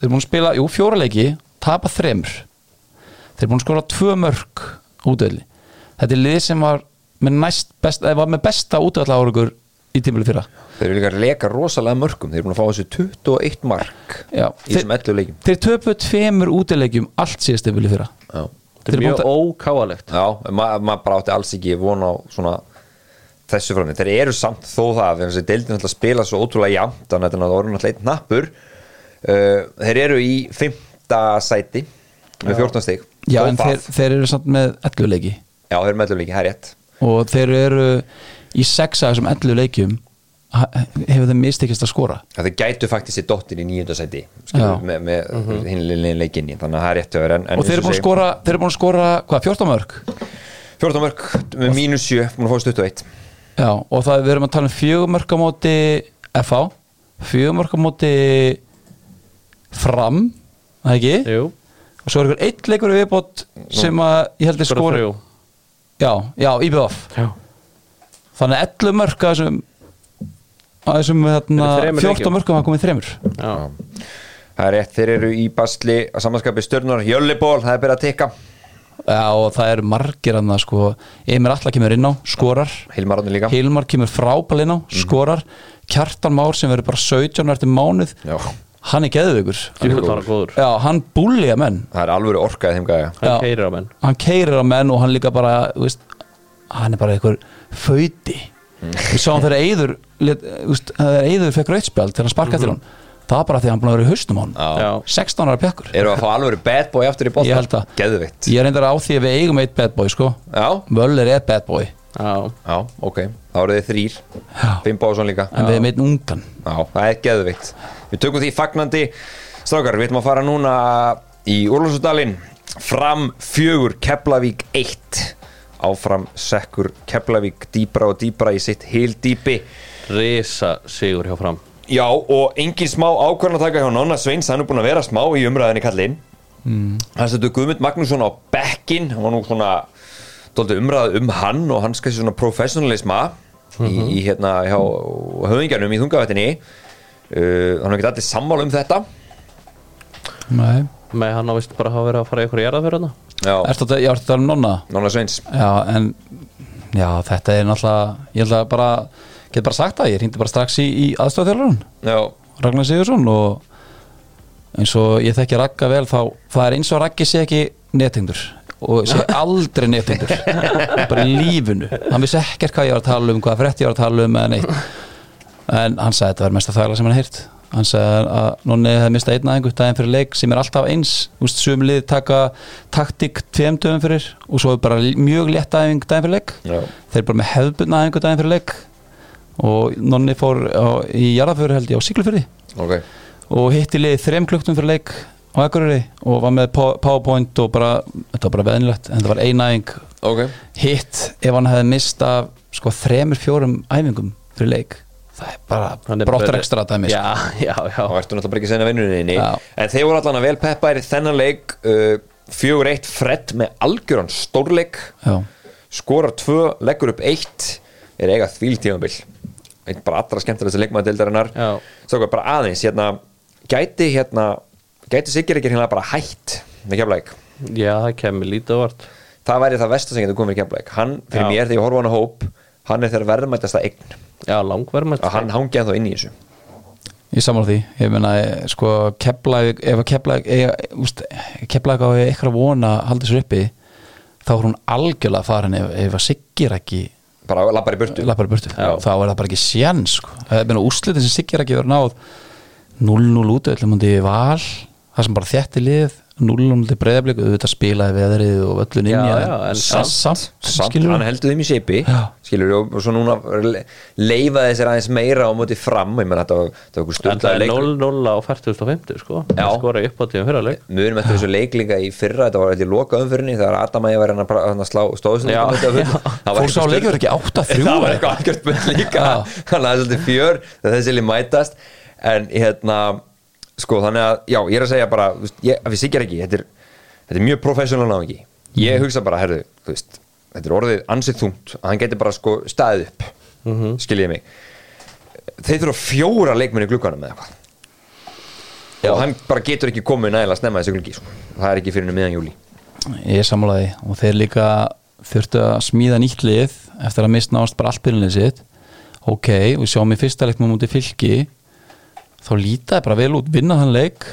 þeir eru búin að spila, jú, fjóra leiki tapa þremur þeir eru búin að skora tvö mörg útöðli þetta er lið sem var með, næst best, eh, var með besta útöðla árugur í tímuli fyrra
þeir eru líka að leka rosalega mörgum þeir eru búin að fá þessu 21 mark
Já,
í þessum 11 leikim
þeir töpu tveimur útilegjum allt síðast tímuli fyrra
já,
Þetta er
Þeir
mjög
búin
ókáalegt
já ma- maður bara átti alls ekki von á svona þessu frammi þeir eru samt þó það þegar þessi deildin alltaf spila svo ótrúlega jafnt þannig að þetta er orðin alltaf einn nappur uh, þeir eru í 5. sæti með 14 stig
Já,
Þó
en
það.
þeir, þeir eru samt með 11 leiki
já, þeir eru með 11 leiki, það er rétt
og þeir eru í sex af þessum 11 leikjum ha- hefur þeim mistekist að skora
að þeir gætu faktist í dottin í nýjönda sæti skilur,
Já. Mhm.
með, með mm -hmm. hinlegin leikinni þannig að það er rétt öður en, en
og þeir eru búin að skora, þeir eru búin að skora hvað, 14 mörg?
14 mörg með mínus 7 búin að fá 21
Já, og það við erum að tala um fjögur mörg á móti FH, fjögur mörg á móti fram, það ekki?
Jú
Og svo er ykkur eitt leikur í viðbót sem að ég held að
Skora
skora
þrjú
Já, já, IBF
Já
Þannig að 11 mörg að þessum að þessum hérna,
Eru þremur
14
leikjum?
mörgum hafa komið þremur
Já
það er rétt, þeir eru í basli að samanskapi stjörnur, jölliból, það er byrjað að tikka
Já, og það eru margir annað sko Emir Alla kemur inn á, skorar
Hilmar Átni líka
Hilmar kemur frábælinn
Mhm.
á, skorar Kjartan Már sem verður bara 17 eftir mánuð,
Já.
hann er geðveikur
Djúfull var hann góður
Já, hann búlja menn
það er alvöru orkaði þeim gæja
Hann
Já.
keirir á menn
hann keirir á menn og hann líka bara þú veist, hann er bara einhver föyti
Mm.
við sáum þegar Eyður lét- þú veist, þegar Eyður fekk rauðspjald þegar hann sparkaði til hann það var bara því að hann búin að vera í haustum á hann
Mhm. Já.
Já
16 ára pjakkur
eru að fá alvöru bad boy aftur í bóta
Ég held að.
geðvitt
ég er reyndar á því að við eigum eitt bad boy sko
já,
Möller er bad boy
Já,
Já, ok, þá eru þið þrýr
Já.
Fimm básson líka
en við erum einn ungan
Já, það er geðveikt Við tökum því fagnandi Strákar, við ætlum að fara núna í Úrlúsudalinn Fram fjögur Keflavík 1 Áfram sekkur Keflavík dýpra og dýpra í sitt hildýpi
risa sigur hjá fram
Já, og engin smá ákvörðanataka hjá Nonna Sveins, hann er búin að vera smá í umræðinni kallinn mm. Hann stættu Guðmund Magnússon á bekkin hann var nú svona dóldi umræð um hann og hans kannski svona professionalisma í, í hérna hjá höfingjarnum í þungavættinni uh, hann er ekki allir sammála um þetta
Nei.
Nei, hann á vist bara að hafa verið að fara í ykkur jarðafjörðuna
Já,
Ertu að, já, ertu að tala um nonna?
Nonna Sveins
Já, en já, þetta er náttúrulega ég held að bara, get bara sagt það ég hringdi bara strax í, í aðstofþjálfarun
Já,
Ragnar Sigursson og eins og ég þekki Ragga vel þá það er eins og Raggi sé ekki netengdur og sé aldrei netengdur bara í lífinu hann vissi ekkert hvað ég var að tala um, hvað frétt ég var að tala um eða neitt en hann sagði þetta var mesta þvægla sem hann heyrt hann sagði að nonni hefði mistað einn aðingu daginn fyrir leik sem er alltaf eins Úst, sum lið taka taktik tveim dögum fyrir og svo er bara mjög létt aðing daginn fyrir leik
Já.
þeir eru bara með hefðbundna aðingu daginn fyrir leik og nonni fór á, í jarðaföru held ég á Siglufyrði
ok
og hitti liðið þrem klukktum fyrir leik á Akureyri og var með po- powerpoint og bara, þetta var bara veðinlegt en það var einæðing
Ok,
hitt ef hann hefði mista sko þremur fjórum æfingum fyrir leik það er bara brottur ekstra dæmi sko.
Já, já, já
og ertu náttúrulega bara ekki senna vinnuninni
Já.
en þeir voru allan að vel peppa þennan leik uh, 4-1 Fred með algjöran stórleik
Já.
skorar 2, leggur upp 1 er eiga þvíl tímabil eitt bara allra skemmtilegsta leikmaður deildarinnar
Já.
Strákar, bara aðeins, hérna gæti hérna, gæti Sigger ekki hérna bara hætt með keflæk
Já, það kemur lítið vart
það væri það vestu sem getur komið með keflæk hann, fyrir
Já.
mér, þegar ég horfa á hann á hóp hann er þegar verðmættasta eign
Já, langverðmætt
að hann hangi ennþá inn í þessu
ég samar því, ég meina eh, sko Keflavík, ef að Keflavík eh, úst, Keflavík á eitthvað vona að halda sér uppi, þá er hún algjörlega farin ef, ef að siggir ekki
bara lappar í burtu
lappar í burtu,
Já.
þá er það bara ekki sjén sko. eða úrslitin sem Siggi er ekki verið náð 0-0 út öllum hundi val það sem bara þétti lið 0-0 hundi breyðablík, auðvitað spilaði veðrið og öllun inn í
Já,
hana.
já, en
Sa- samt,
samt,
skilur
hann heldur þeim í seipi
Já.
skilur og og svo núna leifaði þessir aðeins meira á móti fram ég menn þetta var þetta var einhver
Þetta
stundlega
er
leik
0-0 á 40.50 sko
Já.
Það skora upp á tíum fyrir að leik
munum eftir þessu leiklinga í fyrra þetta var eitthvað í loka umfyrinni þegar Adam að ég var hann að pra- hann að slá stóðsynning
Já,
fór sá leikur ekki 8-3
það var eitthvað algjört bull líka
Já.
þannig að það er svolítið fjör þegar þessi lið mætast en hérna sko þannig að já ég er að segja bara þú veist, ég, við sikir ekki þetta er, þetta er mjög professional náðingi ég
Mhm.
hugsa bara herðu þú veist þetta er orðið ansið þungt að hann geti bara sko staðið upp mm
Mhm.
skiljið mig þeir þurfa fjóra leikmenn í glukkanum með eitthvað og hann bara getur ekki komið nægilega snemma þessu glukki sko. það er ekki fyrir henni miðan júli
ég samlaði og þeir líka þurftu að smíða nýtt lið eftir að mist náast bara allbyrjunni sitt ok, við sjáum í fyrsta leiknum mútið fylki þá lítaði bara vel út, vinna hann leik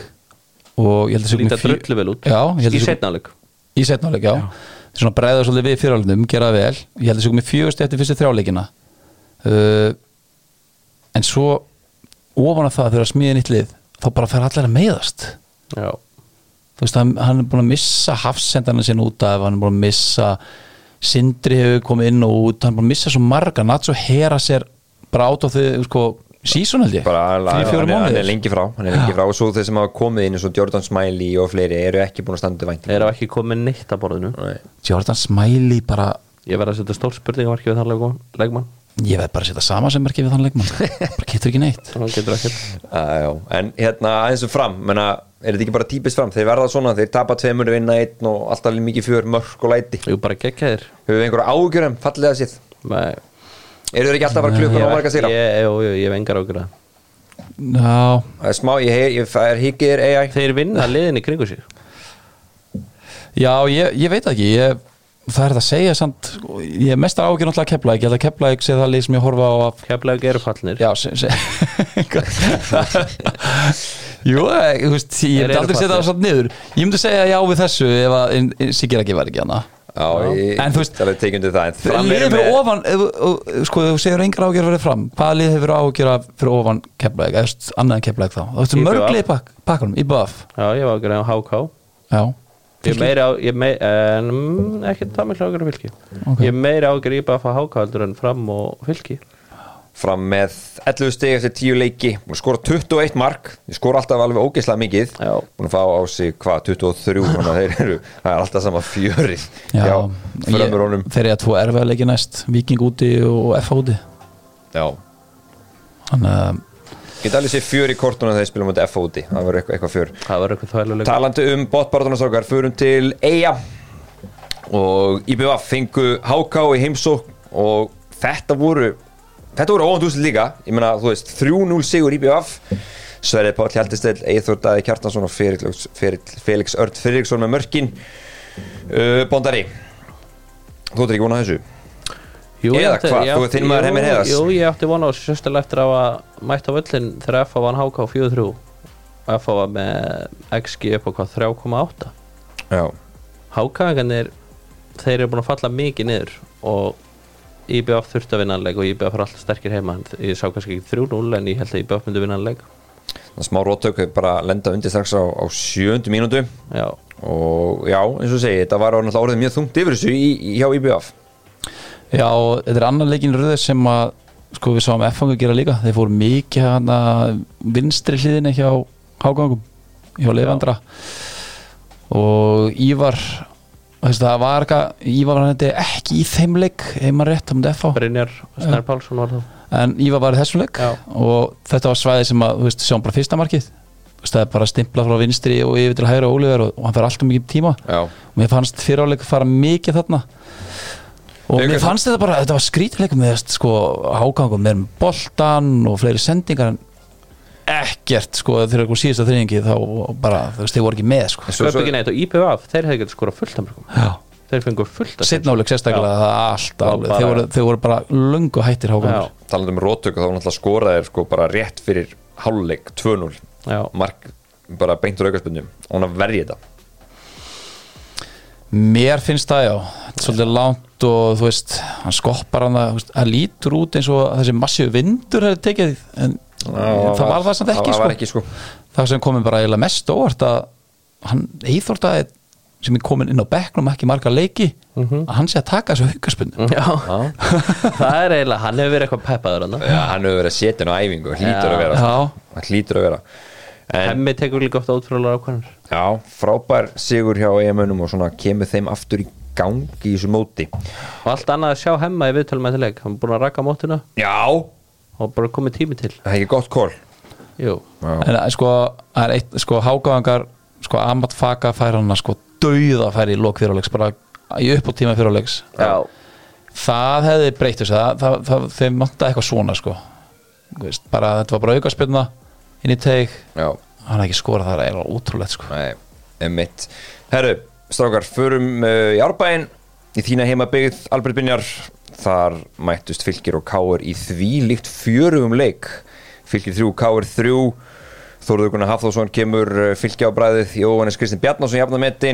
og ég held að sé
Lítið drullu vel út
já, ég held að
Í
sé-
setna leik
í setnáleik, já, já. svona bregða svolítið við fyriralunum, gera það vel ég held að þessu komið fjögust eftir fyrstu þrjáleikina uh, en svo ofan af það þegar að smíða nýtt lið þá bara fer allir að meiðast
Já,
þú veist, hann, hann er búin að missa hafsendana sinna út af, hann er búin að missa Sindri hefur komið inn og út hann er búin að missa svo marga, Nacho hera sér bara át á þau, sko sísón held ég,
bara alveg- hann
fjórum
er- hann er
mánuðir
lengi frá hann er lengi frá og svo þeir sem hafa komið inn eins og Jordan Smiley og fleiri eru ekki búin að standa vænt
þeir eru ekki komið neitt að borðinu
Jordan Smiley bara,
Ég verð að setja stór spurningamarki við þann leikmann- leikmann
ég verð bara að setja sama sem merkið við þann leikmann, bara getur ekki neitt
Hann getur ekkert
Ah, en hérna eins og fram menna, er þetta ekki bara típist fram þeir verða svona þeir tapa tveimur vinna einn og alltaf mikið fjör mörk og læti
Jú, bara geggja þér
hefur við einhverja ágjörum fallega séð
Nei,
eru þeir ekki alltaf bara klukkan
ég,
á marga
ég,
sigra
ég, ég, ég vengar ákveða
Já,
Það er smá ég heyr ég fær higgir AI
Þeir vinna liðin í kringu sig
Já, ég, ég veit það ekki ég, Það er það að segja samt sko, Ég er mestar ágjör náttúrulega að kepla Ég held að kepla ekki sé það lið sem ég horfa á að
Keflaug eru fallnir
Já, se, se, Jú, eh, þú veist
Þeir
Ég myndi
eru
aldrei setja
fallegir.
það samt niður Ég myndi segja já við þessu ef að en- en Sigir ekki hérna. var ekki hana
Já, ég,
En þú veist-
það er tekjundu það en fram
Liðið
eru
fyrir
með-
ofan ef, ef, ef, Sko, þú segir engar ágjör verið fram Hvaða lið hefur ágjör af fyrir ofan kepla ekki Annað en kepla ekki þá Þú veist
IBF.
mörglið pakkanum, í buff
Já, ég var ákveða á HK
Já,
Ég er meira á ég mei, en, mm, ekki það mikla ágjörn á fylki
Ok.
Ég er meira ágjörn í bara að fá hákaldur en fram og fylki
fram með 11 stegi eftir 10 leiki og skora 21 mark ég skora alltaf alveg ógeðslega mikið
Já.
búin að fá á sig hvað 23 þannig að þeir eru, það er alltaf sama fjörið
Já, ég,
framur honum
þeir eru að tvo erfiða leiki næst Viking úti og F úti
já.
Þannig að
geta alveg sér fjör í kortunum þegar þeir spilum út F úti, það verður eitthvað, eitthvað fjör
Það var eitthvað þvæluleg
Talandi um botbarðunarstrákar, förum til Eyja og IBVF fengu HK í heimsókn og þetta voru þetta voru óvænt úrslit líka, ég meina þú veist 3-0 sigur IBVF Sverrið Páll Hjaltisteil, Eithor Daði Kjartansson og Felix, Felix, Felix Örd Friðriksson með mörkin uh, Bondari Þú ert ekki vonað þessu?
Jú, ég
Eða
átti-
hvað,
ég
þú
átti-
þinn maður
jú,
Hemir Heiðars?
Jú, ég átti vona á þessu sérstaklega eftir að hafa mætt á völlin þegar F var háká 4-3 og F var með XG upp á hvað 3,8
Já,
Hákaðingarnir, þeir eru búin að falla mikið niður og IBF þurfti að vinna vinnaðanleik og E IBF er alltaf sterkir heima En ég sá kannski ekki 3-0 en ég held að E IBF myndi vinnaðanleik
það er smá róttök þau bara lenda undir strax á, á sjöndu mínútu
Já,
og já, eins og ég segi, þetta var náttúrulega orðið mjög þungt yfir þessu í, í, hjá IBVF
Já, og þetta er annar leikin röðu sem að sko við sáum F-fangu gera líka þeir fóru mikið hana vinstri hliðinni hjá hágangum hjá Leifandra og Ívar þess, það var eitthvað, Ívar var þetta ekki í þeim leik, heima rétt um F-fá
Brynjar Snær Pálsson var það
en Ívar var í þessum leik
Já.
og þetta var svæði sem að, þú veist, sjáum bara fyrsta markið Þú veist, það er bara stimplað frá vinstri og yfir til hægra Óliðar og, og hann fer alltaf mikið um tíma
Já,
og mér fannst fyriráleik fara mikið þarna og
Ég-
mér fannst þetta bara, þetta var skrítileikum með sko hágangum með boltan og fleiri sendingar en ekkert sko þegar eitthvað síðasta þrýningi þá bara, þú veist, þeir voru ekki með sko
Svo-
Svo,
svo-
ekki neitt og IBF, þeir hefði getið skorað fullt af mörgum Þeir fengur fullt af
sittnáleik sérstaklega, það er allt
Og
alveg
bara-
þeir voru, þeir voru bara löngu hættir
Já,
hágangur
talandi um rótök þá náttúrulega skoraðir sko bara rétt fyrir háluleik 2-0
já,
mark bara beint úr aukarspunum og hann að verja þetta
Mér finnst það já Þetta er svolítið langt og þú veist hann skoppar hann að, hann lítur út eins og þessi massíu vindur hefði tekið en það var það samt ekki,
það
sko.
var ekki sko
það sem komið bara eiginlega mest óvart að hann Eithordaði sem er komin inn á bekknum ekki marga leiki að hann sé að taka þessu haukaspunni
já. Það er eiginlega, hann hefur verið eitthvað peppaður hann
Já, hann hefur verið að setja hann á æfingu hlýtur
Já.
að vera sko.
Já.
hann hlýtur að vera en
Hemmi tekur líka ofta ótrúlega ákvæmur
já, frábær sigur hjá EM-unum og svona kemur þeim aftur í gang í þessu móti
Og allt annað að sjá Hemma í viðtölum eftir leik Hann er búin að raka mótuna
Já,
og bara komið tími til
það er ekki gott kól
Jú,
en að, sko, það er eitt, sko hágáðangar sko Amat Faka fær hann að sko dauða færi í lok fyrirleiks bara í upp og tíma fyrirleiks
já,
það hefði breytt þessu það, það, það, þeim vantaði eitthvað svona sko Þú veist, bara þetta var bara aukaspunna inn í teig
Já,
hann hefði ekki skorað það er eiginlega ótrúlegt sko
Nei, emitt Herru, strákar, förum uh, í árbæin í þína heimabyggð Albert Binjar þar mættust fylgir og káir í því líkt fjörugum leik fylgir þrjú, káir þrjú Þóruður Gunnar Hafþórsson kemur eh, Fylki á bræðið, Jóhannes Kristinn Bjarnason jafnametti,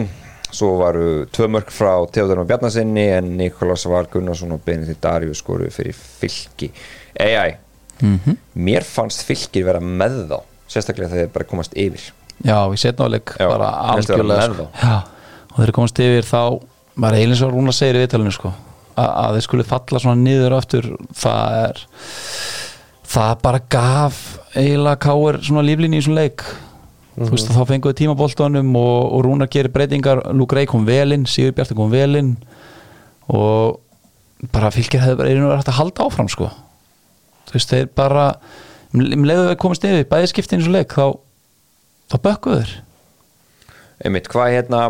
svo varu tvö mörg frá Teodorum Bjarnasinni en Nikolas Var Gunnarsson og Benedikt Darju skoru fyrir fylki Ei, -hmm. mér fannst fylkir vera með þá, sérstaklega þegar þeir bara komast yfir
Já, í setnáleik
Já,
bara
finnst þér að
algjörlega
vera
sko.
með
Já, og þegar þeir komast yfir þá var eilins og Rúna segir í viðtalinu sko, að, að þeir skulle falla svona niður aftur það er það bara gaf eiginlega káir svona líflínu í svona leik þú
Mhm.
veist að þá fenguðu tímaboltanum og, og Rúnar gerir breytingar, Luke Rey kom velinn Sigur Bjartur kom velinn og bara fylgir hefði bara einu verið hægt að halda áfram sko þú veist þeir bara um um leiðu að komast yfir, bæði skiptin í svona leik þá, þá bökkuðu þeir
einmitt, hvað er hérna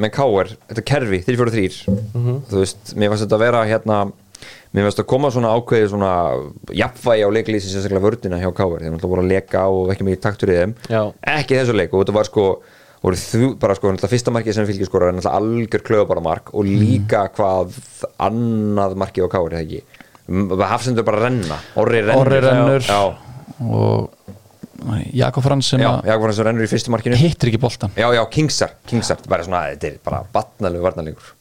með káir, þetta kerfi, 343
Mhm.
þú veist, mér fannst þetta að vera hérna mér fannst að koma svona ákveði svona jafnvægi á leiklýsi sérstaklega vördina hjá káir, þeir náttúrulega voru að leka og ekki mikið taktur í þeim,
Já.
ekki í þessu leik og þetta var sko, voru þrjú bara sko, náttúrulega fyrsta markið sem fylgir skora er náttúrulega algjör klöðubara mark
Mhm.
og líka hvað annað markið á káir, það ekki hafsendur bara renna, orri rennur
Orri rennur
já,
og Jakob Frans sem
já,
að
já, já rennur í fyrstu markinu
hittir ekki boltan
já, já, kingsar, kingsar, þetta er bara svona þetta er bara batnalegu varnalegur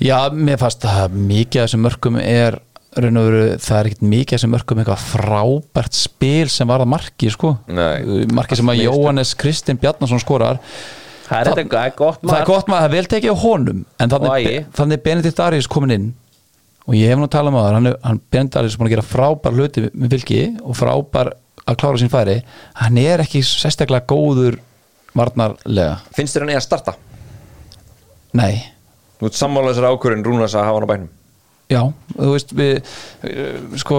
Já, mér fannst að mikið af þessum mörkum er raun og veru, það er ekkert mikið af þessum mörkum eitthvað frábært spil sem var að marki sko.
Nei.
marki sem að Jóhannes Kristinn Bjarnason skorar
Það er þetta það er gott
það er
mark
gott maður, það er vel tekið á honum en
Og
þannig,
Ægi.
þannig er Benedikt Arius komin inn og ég hef nú talað um það hann, er- hann Benedikt Arius er búin að gera frábær hluti með vilki og frábær að klára sín færi hann er ekki sérstaklega góður varnarlega,
Finnst þér hann eða að starta?
nei
Þú ert sammála þessari ákvörðin Rúnars að hafa hann á bænum
já, þú veist við, eh, sko,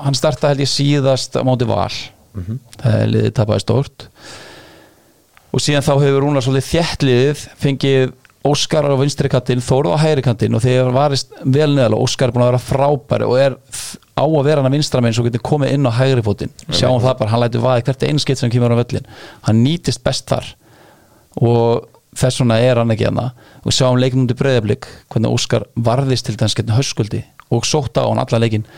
hann starta held ég síðast á móti val það er liðið tapaði stórt og síðan þá hefur Rúnar svolítið þjættliðið fengið Óskar á vinstri kantinn, Þóru á hægri kantinn og þegar hann varist vel neðalega Óskar er búin að vera frábæri og er f- á að vera hann að vinstra meginn svo getur komið inn á hægri fótinn sjáum það bara, hann lætur vaði hvert einu skeitt sem kemur á völlin, hann nýtist best þar og þess vegna er hann ekki hann og sjáum leiknum til breyðablík hvernig Óskar varðist til þess getna höskuldi og sótt á hann allan leikinn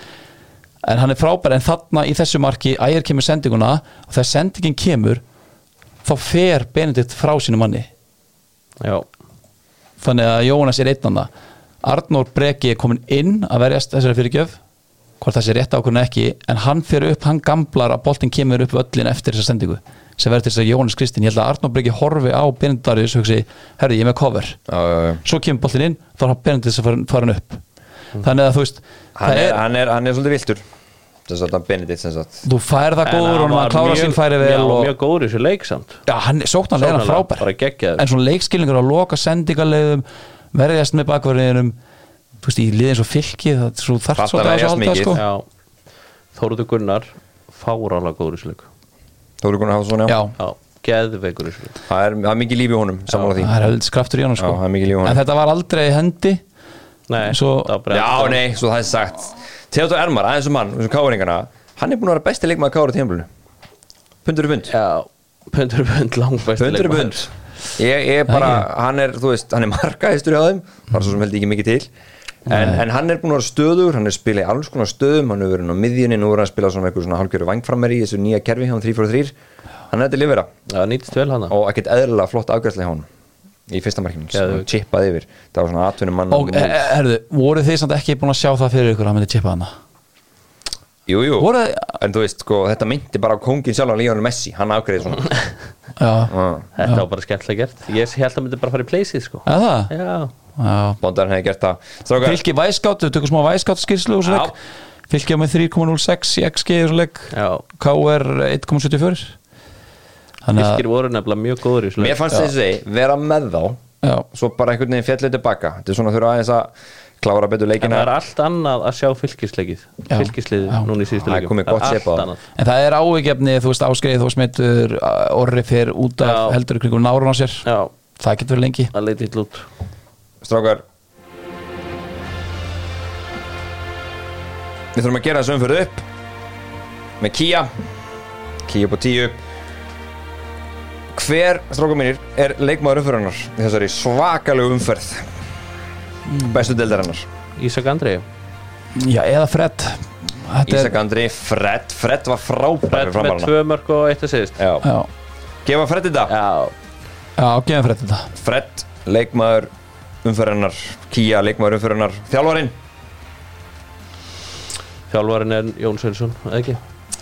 en hann er frábær en þarna í þessu marki ægir kemur sendinguna og þegar sendingin kemur þá fer Benedikt frá sínu manni
Já,
þannig að Jónas er einn annað Arnór Breki er komin inn að verjast þessari fyrirgjöf hvort það sé rétt ákvörðin eða ekki en hann fer upp, hann gamblar að boltinn kemur upp öllin eftir þessa sendingu sem verður til þess að Jónas Kristinn, ég held að Arnór Breki horfi á Benedikt Darius og hugsi, herri ég er með cover
Já, já, já
svo kemur boltinn inn, þá er hann Benedikt þess að fara- fara hann upp
Mm.
þannig að þú veist,
Hann
það
er,
er,
hann er, hann er svolítið viltur Þess að hann Benedikt sem sagt
þú fær það
En
góður og
var
hann klára
mjög-
sín færi vel
Já,
og,
mjög góður í þessu leik samt
Já, hann sóknarlega er hann
Sóknarlega,
frábær
bara geggjaður.
En svona leikskilningur að loka sendingarleiðum verðjast með bakverðinum Þú veist, í liðin eins og fylki það er svo þarft
Þarft
svo
að
að
verjast
halda
mikið.
sko.
Já, Þóruður Gunnar fárála góður í þessu leik
Þú eru konar að hafa svona,
Já,
Já, geðveikur í þessu leik
Það er, það er mikið líf í honum, sammála því
það er heldur skraftur í honum sko.
Já, það er mikið líf í honum.
En þetta var aldrei í hendi
Nei,
Svo-
það var bara-
Já, nei, svo það er sagt Theodor Ermar, aðeins um hann, þessum káringana Hann er búin að vera besti leikmaður kára tímabölinu Pundur í pund
Já, pundur í pund langbæst
Pundur í pund Ég ég er bara, hann er, þú veist, hann er markaðistur hjá þeim Bara svo sem held ég ekki mikið til en, en hann er búin að vera stöður, hann er spilað í alls konar stöðum Hann hefur verið inn á miðjunni, nú er hann að spila svona einhver svona hálfgjöru vangframmer í þessu nýja kerfi hjá hann 3-4-3 Hann er þetta lifera
Já, nýttist vel hana
og ekkert eðlilega flott afgjörslega hjá hann Í fyrsta markinu,
Geðveikt.
chippað yfir Það var svona atvinnum mann
Og e- e- herðu, voru þið samt ekki búin að sjá það fyrir ykkur að hann myndi tippa hana
Jú, jú,
Voru-
en þú veist, sko, þetta myndi bara á kóngin sjálfan Lionel Messi, hann afgreði svona
Já,
Ah.
Þetta var bara skemmtilega gert Ég held að myndi bara fara í pleysið sko
eða það?
Já,
Já,
Bondarinn hefði gert það Strákar,
Fylki væskátt, við tökum smá væskátt skýrslu og svo leik Fylki á með 3,06 í XG og svo leik
já
KR 1,74 Þannig að
Fylgir voru nefnilega mjög góður í þessu
mér
leik
fannst þessi vera með þá
Já,
svo bara einhvern veginn fjallið tilbaka þetta er svona þurfa aðeins að klára betur
En
leikina
það er allt annað að sjá fylgisleikið
Já.
Fylgisliðið
Já.
núna í síðustu
Það er
leikum
komið gott
allt
svip á það.
annað.
En það er áhugjefni, þú veist, áskreið þú smittur, orri fyrr út af
Já.
heldur ykkur nárun á sér
Já,
Það getur verið lengi
það leiti hitt út
Strákar Við þurfum að gera þessu umfyrðu upp með Kia Kia upp á 10 Hver, strákar mínir, er leikmaður umfyrðunar þessari svakalegu umferð
Hmm.
bestu deildarinnar
Ísak Andri
Já, eða Fred Þetta
Ísak Andri, Fred Fred var frábæri
Brett með
framarna
tvö mörg og eitt að síðust
Já.
Já,
Gefa Fred þetta
Já,
já gefum Fred þetta
Fred, leikmaður umferðunar Kia, leikmaður umferðunar Þjálfarinn
þjálfarin er Jón Sveinsson, eða ekki?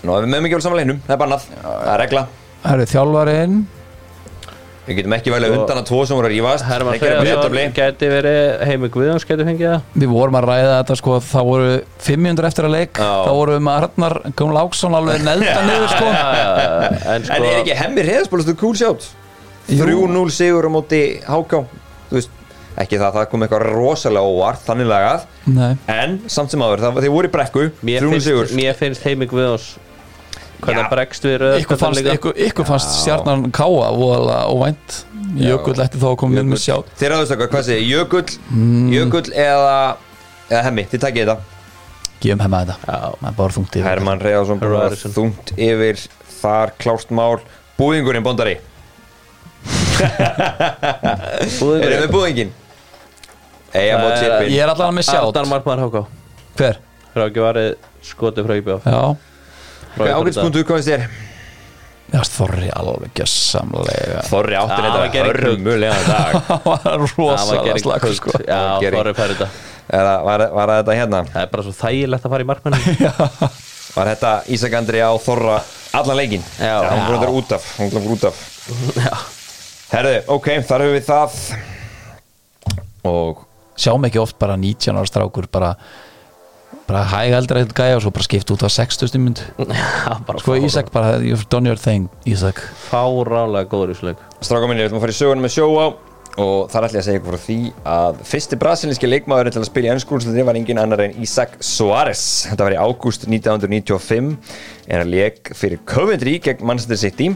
Nú, ef við meðum ekki vel samanleginum, það er bannað Það er regla
Það eru þjálfarinn
Við getum ekki velja
Svo-
undan að tvo sem voru að rífast
Herman
Þeir gera
Freyðarsson
breytabli.
gæti verið Heimi Guðjóns gæti fengið það
Við vorum að ræða þetta sko, þá voru 500 eftir að leik
Já.
Þá voru við með Arnar Guml Áksson alveg nelda niður sko
En
En
sko,
er ekki hemmi reyðspólast og cool sjátt
Jú.
3-0 sigur á móti HK Þú veist, ekki það, það kom eitthvað rosalega óvart Þannig lagað
Nei,
En samt sem áður, það, þeir voru í brekku
mér
3-0 sigur
finnst, mér finnst Heimi Guðjóns hvernig
Já.
hann bregst við röð
ykkur fannst, ykkur, ykkur fannst stjarnan káa voðalega óvænt Jökull ætti þá að koma inn með sjá
Þeir aðeins okkar, hvað segir, Jökull
Mm.
Jökull eða, eða hemmi, þið takkið þetta
Gefum hefma þetta
Já.
Það er bara þungt yfir
Herman Reyðarsson bara
Reyðarsson.
þungt yfir Þar klárt mál Búðingurinn bóndari Erum við búðinginn? Eyja mót
Það er-
chipin
Ég er allavega með sjátt
Arnar Markmann Háká
Hver?
Rákjúvarið skotið frá IBF
Já
Hvað er ágætspunktu, hvað finnst þér?
Já, Þorri alveg gjössamlega
Þorri átti
Já,
þetta
það gerði
var
krökt.
hörmulega dag
Það var rosalega slag sko.
Já,
Það var Gary-
Þorri fær þetta
Eða var, var þetta hérna
Það er bara svo þægilegt að fara í markmann
Var þetta Ísak Andri á Þorra allan leikinn
Já.
Hún fór þetta út af Hún fór út af Herðu, ok, þar höfum við það Og
sjáum ekki oft bara 19 ára strákur bara, bara hægaldra eitthvað gæja og svo bara skipt út á 60 mynd
Já, bara
sko
fáránlega-
Ísak bara, you've done your thing Ísak
fáránlega góður í sleik
Stráka minni, við ætlum að fara í sögunum með sjóa og þar ætlum ég að segja ykkur frá því að fyrsti brasilíski leikmaðurinn til að spila í ennskúrnslutinni var engin annar en Isaac Suárez. Þetta var í ágúst 1995 en hann leik fyrir Coventry gegn Manchester City.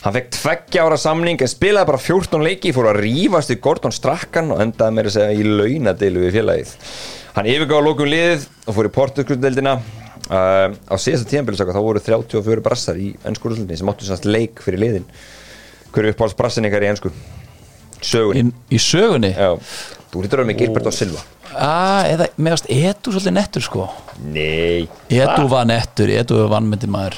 Hann fekk tveggja ára samning en spilaði bara 14 leiki, fór að rífast í Gordon Strakkan og endaði meira að segja í launadeilu við félagið. Hann yfirgáði lókum liðið og fór í portugskrutdeldina Uh, á síðasta tíðanbílisaka þá voru 34 brassar í ennskúrnslutinni sem áttu sannst leik fyrir liðin Hver er uppáhalds brassin ykkar í ennsku?
í,
Sögunni
í sögunni
Já Þú hlýtur að vera með Gilbert og Silva
ah, eða, mér varst, Edu svolítið nettur sko
Nei
Edu
Ah.
var nettur, Edu var vannmyndi maður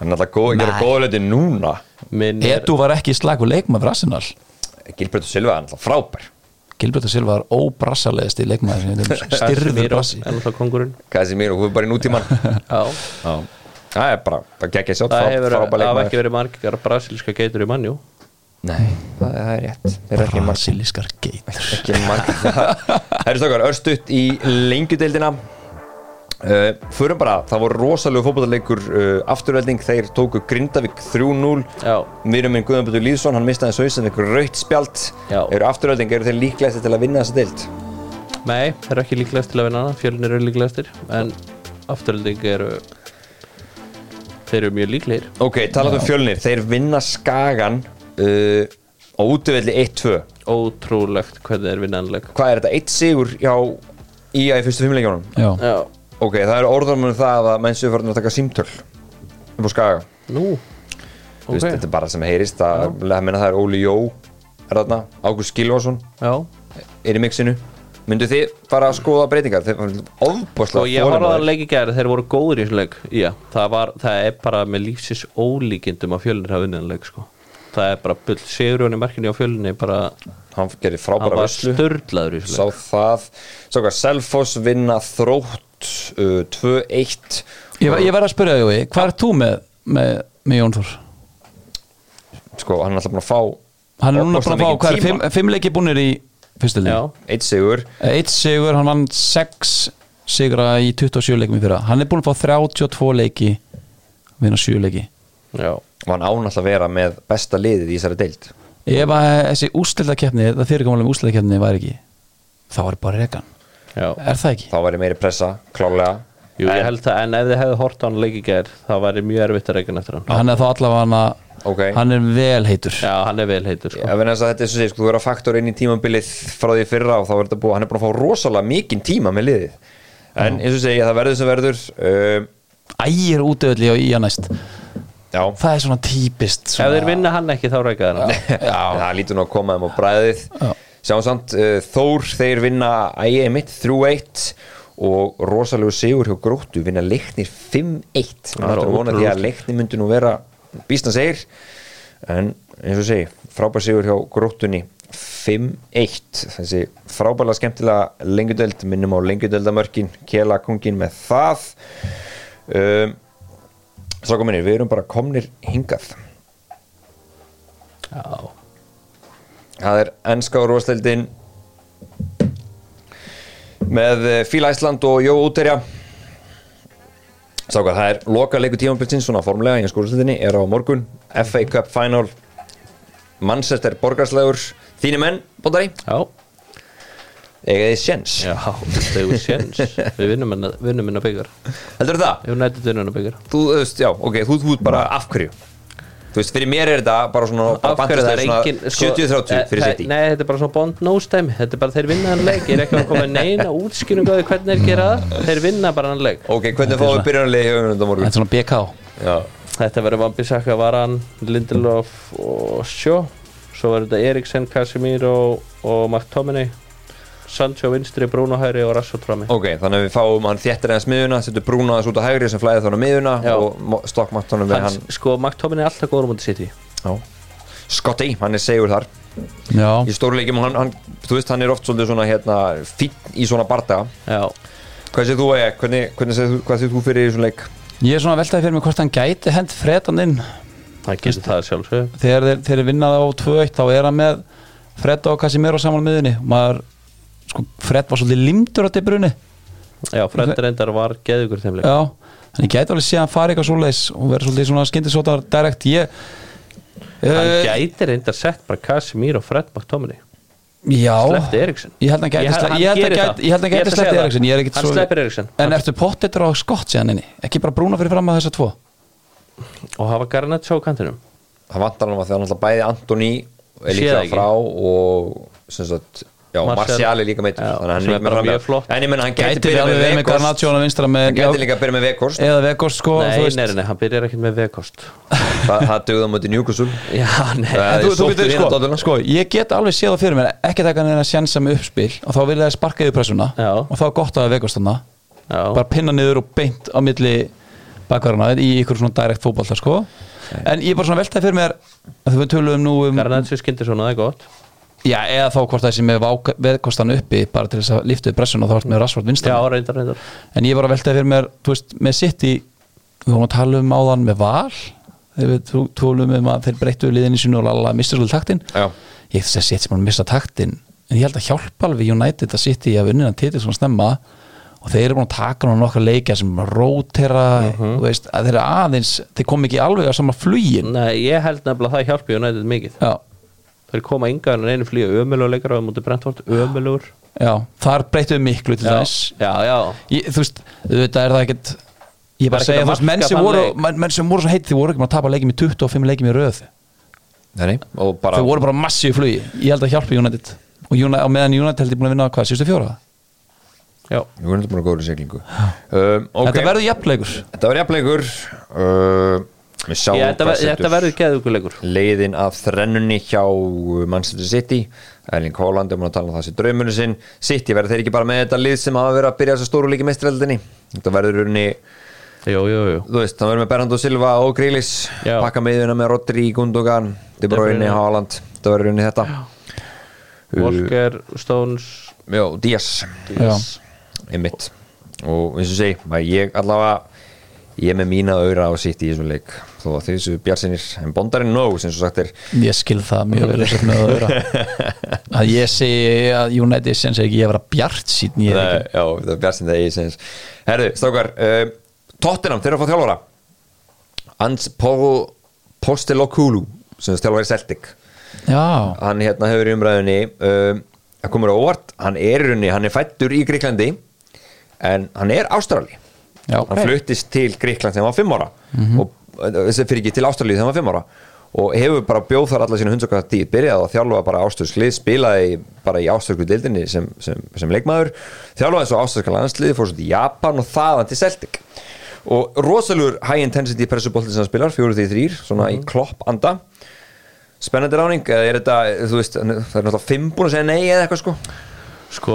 Hann er alltaf góð, að gera
Nei.
góða hluti núna
Minn er-
Edu var ekki í slag og leikmaður Arsenal
Gilbert og Silva er alltaf frábær
Gilbert og Silva var óbrassalegist í leikmaður sem við veitum, styrður
Casemiro
brassi
er náttúrulega kongurinn
Casemiro, hún er bara í nútíman
Já,
Það er bara, það gekkja sjátt
það hefur
frábær
það hafa
leikmaður
ekki verið margar brasilíska geitur í mannjú
Nei, það það er rétt Það er ekki marg
Brassilískar geitur
ekki marg Herri stakar, örstutt í lengjudeildina uh, Förum bara, það voru rosalegu fótbollarleikur uh, afturvelding, þeir tóku Grindavík 3-0
Já,
Mýrum minn Guðanbjörn Lýðsson, hann mistaði þessu hausinn ykkur raukt spjald
Já.
Eru afturölding, eru þeir líklegasti til að vinna þessa deild?
nei, það er ekki líklegast til að vinna hana Fjölnir eru líklegastir En afturölding eru Þeir eru mjög líklegir
Ok, talað um fjölnir, þeir vinna skagan uh, á útvöldi 1-2
Ótrúlegt hvernig þeir vinna anleik
Hvað er þetta? Eitt sigur hjá IA í fyrstu fimmleikjónum?
Já,
Já,
Ok, það eru orðarmunum það að menn séu farin að taka símtöl upp á skaga
nú
Þú veist,
Ok,
Þetta er bara sem heyrist, það, það, meina, það er Óli Jó er þarna, Ágúst Gilvason
já
er í mixinu Myndu þið fara að skoða breytingar? Þeir ofbáslega
Sko ég horfði að leik í gæri, þeir voru góðir í þessu leik Já, það, var, það er bara með lífsins ólíkindum að fjölunir hafa unnið þennan leik sko. Það er bara bull Sigurjón í markinu á fjölunni bara,
Hann gerir
hann
frábæra
var
vöslu
störlaður í þessu
sá
leik
það sá hvað, Selfoss vinna þrótt uh, 2-1
ég, var- ég verð að spyrja Jói, hvað er þú með, með, með Jón Þór?
sko, hann er alltaf búin að fá
Hann er núna búin að fá, hvað er,
fimm
fimm, fimm leiki búinir í fyrstu
Já,
leik?
eitt sigur,
Eitt sigur, hann vann sex sigra í 27 leikum í fyrra Hann er búin að fá 32 leiki vinna 7 leiki
já,
og hann án alltaf að vera með besta liðið í þessari deild
Ef að þessi úrstildakeppni, það fyrirkomulega um úrstildakeppni var ekki þá er bara rekan,
já
er það ekki?
þá væri meiri pressa, klálega
Jú, ég held það, en ef þið hefðu hort á hann leik í gæri það væri mjög erfitt að reyna eftir hann
Hann er þá allavega
Ok.
hann er vel heitur
Já, hann er vel heitur sko.
ef en þess að þetta er svo segið, sko, þú verður að faktor inn í tímabilið frá því fyrra og þá verður þetta búið, hann er búin að fá rosalega mikinn tíma með liðið en eins og segja, það verður sem verður uh,
Ægir útöðli og í að næst
já,
Það er svona típist
Ef þeir
svona...
vinna hann ekki þá reyka þeir hann
það lítur nú að koma þeim á bræðið
Já.
sjáum samt uh, Þór þeir vinna ægið mitt 3-1 og rosalegu sigur hjá gróttu vinna leiknir 5-1
Það er
það er vonað því að leiknir myndi nú vera býstna segir en eins og segi frábær sigur hjá gróttunni 5-1 þessi frábærlega skemmtilega lengjudeld minnum á lengjudöldamörkin Kela kongin með það um, Sáka minni, við erum bara komnir hingað
Já,
Það er ennska og úrvarsdeildin með eh, Fíla Ísland og Jó Úterja Sáka, það er loka leiku tímanbilsin svona formlega í skólustöldinni er á morgun FA Cup Final Manchester Borgarslegur Þínu menn, Bóndari,
já,
eiga þið sjens
já Þau er séns Við vinnum hennar- vinnum hennar byggar
Heldur það?
Ef nættið vinnum hennar byggar
Þú, þú veist, já, ok, þú þú ert bara af hverju Þú veist, fyrir mér er þetta bara svona bara
Af hverju það er
bandist-
engin
svona
sko,
70-30 fyrir
eh,
sitt í
Nei, þetta er bara svona Bond no-stæmi Þetta er bara þeir vinna hann leik Ég er ekki að koma með neina útskýringu á því hvernig þeir gera það Þeir vinna bara hann leik
Ok, hvernig fáum við byrjanlega í öfnum þetta á morgun?
Þetta er svona BK
Já,
Þetta verður Vambisaka, Varan, Lindelof og Sjó Svo verður þetta Eriksen, Casemiro og McTominay Sancho vinstri, Bruno hæri og Rassot frammi
Ok, þannig að við fáum hann þéttir aðeins miðuna, setur Brúna aðeins út á hægri sem flæði þannig miðuna
Já.
og Mo- Stockmart honum við
Hans,
hann
Sko, McTominay er alltaf góður mútið sitt í
já. Scotty, hann er segur þar
Já,
í stórleikim, hann, hann, þú veist, hann er oft svolítið svona hérna, fín í svona barda
Já,
Hvað séð þú að ég? Hvernig, hvernig séð þú, hvað séð þú fyrir í svona leik?
ég er svona veltaði fyrir mig hvort hann gæti hend fredan inn
hann getur það sjálfsög
þegar þeir, þeir vinna það á 2-1 þá er hann með Fred og Casimiro saman á miðinni maður, sko, Fred var svolítið limtur á debrunni
já, Fred reyndar var geðugur þeim leik
já, þannig gæti alveg séð að hann fari eitthvað svoleiðis og verið svolítið svona skyndisótar direkt ég
hann
Eh,
gæti reyndar sett bara Casimir og Fred McTominay
já,
sleppti Eriksson
ég held að hann gæti
Ég held-
sle-
hann
ég held að
gerir
hann
það.
gæti- ég held að hann
Ég ætla
gæti
að segja
sleppti
það.
Eriksson ég er ekkit
Hann
svo-
sleppir Eriksen.
en ertu pottetur á skott síðan inni ekki bara brúna fyrir fram að þessa tvo
og hafa Garnaccio á kantinum
það vantar hann að því að náttúrulega bæði Antoni er
Sér
líklega
það ekki.
frá og sem sagt, já,
Martial.
Martial er líka meittur
Já,
þannig að hann
sem
er líka
er
með
bara mjög
framlega
flott.
en ég menn hann gæti
gæti við
byrjað
alveg verið með
Veghorst
Garnaccio á vinstra með
hann gæti líka að byrja með Vekost
eða Vekost sko
nei,
þú veist.
nei, nei, hann byrjar ekkert með vekost
Þa, það dögða mútið Newcastle
já, nei,
Það
En
er
þú, þú
sótt
getur,
í
sko,
vináttuátuna.
sko, ég get alveg séð það fyrir mér ekki taka neina sjensa með uppspil og þá vilja það sparka yfir pressuna
Já.
og þá er gott að það veikast hana
já,
bara pinna niður og beint á milli bakvarana í ykkur svona direkt fótballta sko. en ég er bara svona veltaði fyrir mér að þú tölum nú um
Garnaccio skindir svona, það er gott
já, eða þá hvort það sé með veikastan uppi bara til þess að lifta yfir pressuna og þá ertu með rasvart
já,
vinstan
reyndar, reyndar
en ég er bara veltaði fyrir mér þú veist, með sitt í við vorum að tala um áðan með val þegar við tú- tölum um að þeir breyttu liðinu sínu og lala mistur svolítið taktin
já,
ég þess að setja sem að missa taktin en ég held að hjálpa alveg United að sitja í að vinna titil svona snemma og þeir eru búin að taka hann nokkra leikja sem rótera,
Mhm.
þú veist, að þeir eru aðeins þeir kom ekki alveg á sama flugin
nei, ég held nefnilega að það hjálpi United mikið
já,
þeir koma yngan en einu flýja ömuleguleikar á mútið Brentford, ömulegur
já, þar breytum við miklu til
já,
þess
já, já,
ég, þú veist, auðvitað er það ekkert ég
Það er
bara
ekkert
segja, þú
að
veist, menn
marka
sem
þann
voru
leik.
menn, menn sem voru svo heitt, þeir voru ekki maður að tapa leikim í 25 leikim í röð
nei, nei, og bara
þau voru bara massíu í flugi, ég held að hjálpa United og United, á meðan United held ég búin að vinna hvað, síðustu fjóra?
já
við vorum bara góður í siglingu um, ok,
Þetta verður jafnleikur
þetta var jafnleikur uh, við sjáum
Ég, þetta, ver, þetta verður geðugulegur
leiðin af þrennunni hjá uh, Manchester City Erling Haaland er múin að tala um það sér draumunu sinn City verður þeir ekki bara með þetta lið sem hafa verið að byrja þess að stóru líki meistrældinni þetta verður unni,
Jú, jú, jú
þú veist, það verður með Bernardo Silva og Grílis,
Já.
pakka meðuna með Rodri Gundogan, De Bruyne,
Bruyne.
Haaland þetta verður unni þetta uh,
Walker, Stones
já, Díaz
Já.
einmitt og eins og segi, að ég allavega ég er með mína auðra á City í þessum leik þó að því þessu bjarsinir en bondarinn nóg sem svo sagt er
Ég skil það mjög vel þess að með að vera að ég segi að United sem segi ekki ég að vera bjart síðan ég er
Nei, já, það er bjarsin það eigi sinns Herðu, stókar, um, Tottenham, þeir eru að fá þjálfara Hans Pó Postelokoulou sem er þjálfari Celtic
ekki Já,
hann hérna hefur í umræðunni um, það komur á óvart, hann er í rauninni hann er fættur í Gríklandi en hann er Ástrali
Já.
hann fluttist til Gríkland þegar hann var 5 ára og þessi fyrir ekki til Ástrali þegar hann var 5 ára og hefur bara bjóð þar alla sína hundsakvæða tíð, byrjaði að þjálfa bara ástölslið, spilaði bara í ástölsku dildinni sem, sem, sem leikmaður þjálfaði svo ástölska landslið, fór svo til Japan og þaðan til Celtic og rosalur high intensity pressubolti sem hann spilar, 4-3, svona
Mhm.
í klopp anda spennandi ráning eða er þetta, þú veist, það er náttúrulega fimm búin að segja nei eða eitthvað sko
Sko,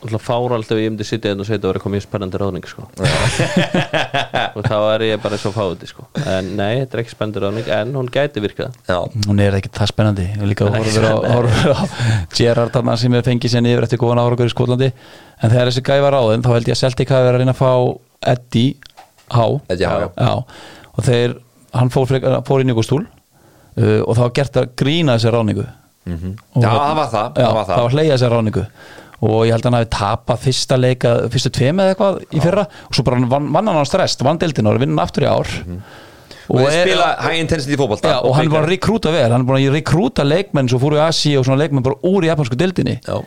alltaf fáralt ef ég myndi sitja einn og segja þetta verið komið spennandi ráðning sko. og þá er ég bara eins og fáiði sko. en nei, þetta er ekki spennandi ráðning en hún gæti virkað
já,
hún er ekki það spennandi Ég er líka horfur á, horfur á Gerard þarna sem er fengið sér yfir eftir góðan árakur í Skotlandi en þegar þessi gæfa ráðin þá held ég að Celtic hafi verið að reyna að fá Eddie Há
Eddie Howe, já.
og þeir, hann fór, frekar- fór inn í ykkur stúl uh, og þá var gert að grína þessi ráningu
Mhm.
Og- hérna-
Já, það var það,
já,
það var það.
var hleyja þessar ráningu og ég held að hann hafi tapað fyrsta leika fyrstu tveim eða eitthvað í fyrra og svo bara vann, vann hann á strest, vann deildin og er að vinna hann aftur í ár
Mhm. og þeir
er-
spila high intensity fótbolta
já, og hann er búin
bikar.
að rekrúta vel hann er búin að rekrúta leikmenn svo fóru í Asi og svona leikmenn bara úr í japansku deildinni
Já.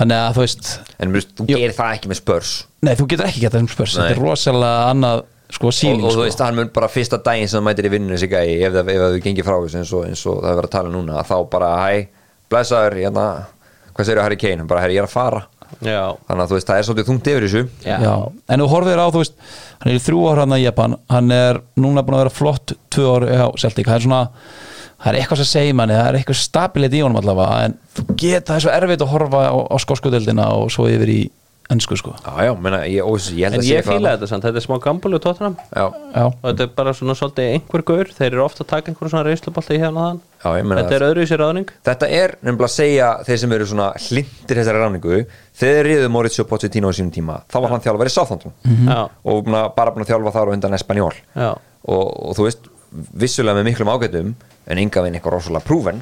þannig að þú veist
en þú veist, þú
Jú.
gerir það ekki með spörs
nei, þú getur ekki gett þessum spörs þetta
Nei.
er rosalega annað sko
og,
síling
og þú
sko.
veist, hann mun bara fyrsta daginn sem það mætir í vinnunni sig gæi, ef það ef það gengir frá þessu eins og, eins og það er verið að tala um núna að þá bara, hæ, blessaður hérna, hvað segir Harry Kane, hann bara, herri, ég er að fara
Já,
þannig að þú veist, það er svolítið þungt yfir þessu
já,
Já. en þú horfir á, þú veist hann er í þrjú ára hann í Japan hann er núna búin að vera flott tvö ára á Celtic það er svona, það er eitthvað sem segir manni það er eitthvað stabilit í honum allavega en þú get, það er svo erfitt að horfa á, á skóskudeldina og svo yfir í ennsku sko
já, já, meina, ég, og, ég held
En
að
ég
eitthvað
fíla þetta samt, þetta er smá gambúli og tóttunum
annað. já,
já,
og þetta er bara svona svolítið einhver gaur þeir eru ofta að taka einhverjum svona reyslubolti í hérna og
Já, ég
þann
meina
þetta er öðru í sér ráðning
Þetta er nefnilega að segja þeir sem eru svona hlindir þessari ráningu þegar riðu Mauricio Pochettino á sínum tíma þá var hann þjálfari sáþóndum
Já,
og búin að- bara búin að þjálfa þar og undan Espanjól
já,
og, og þú veist, vissulega með miklum ágætum en enga veginn eitthvað rosalega prúven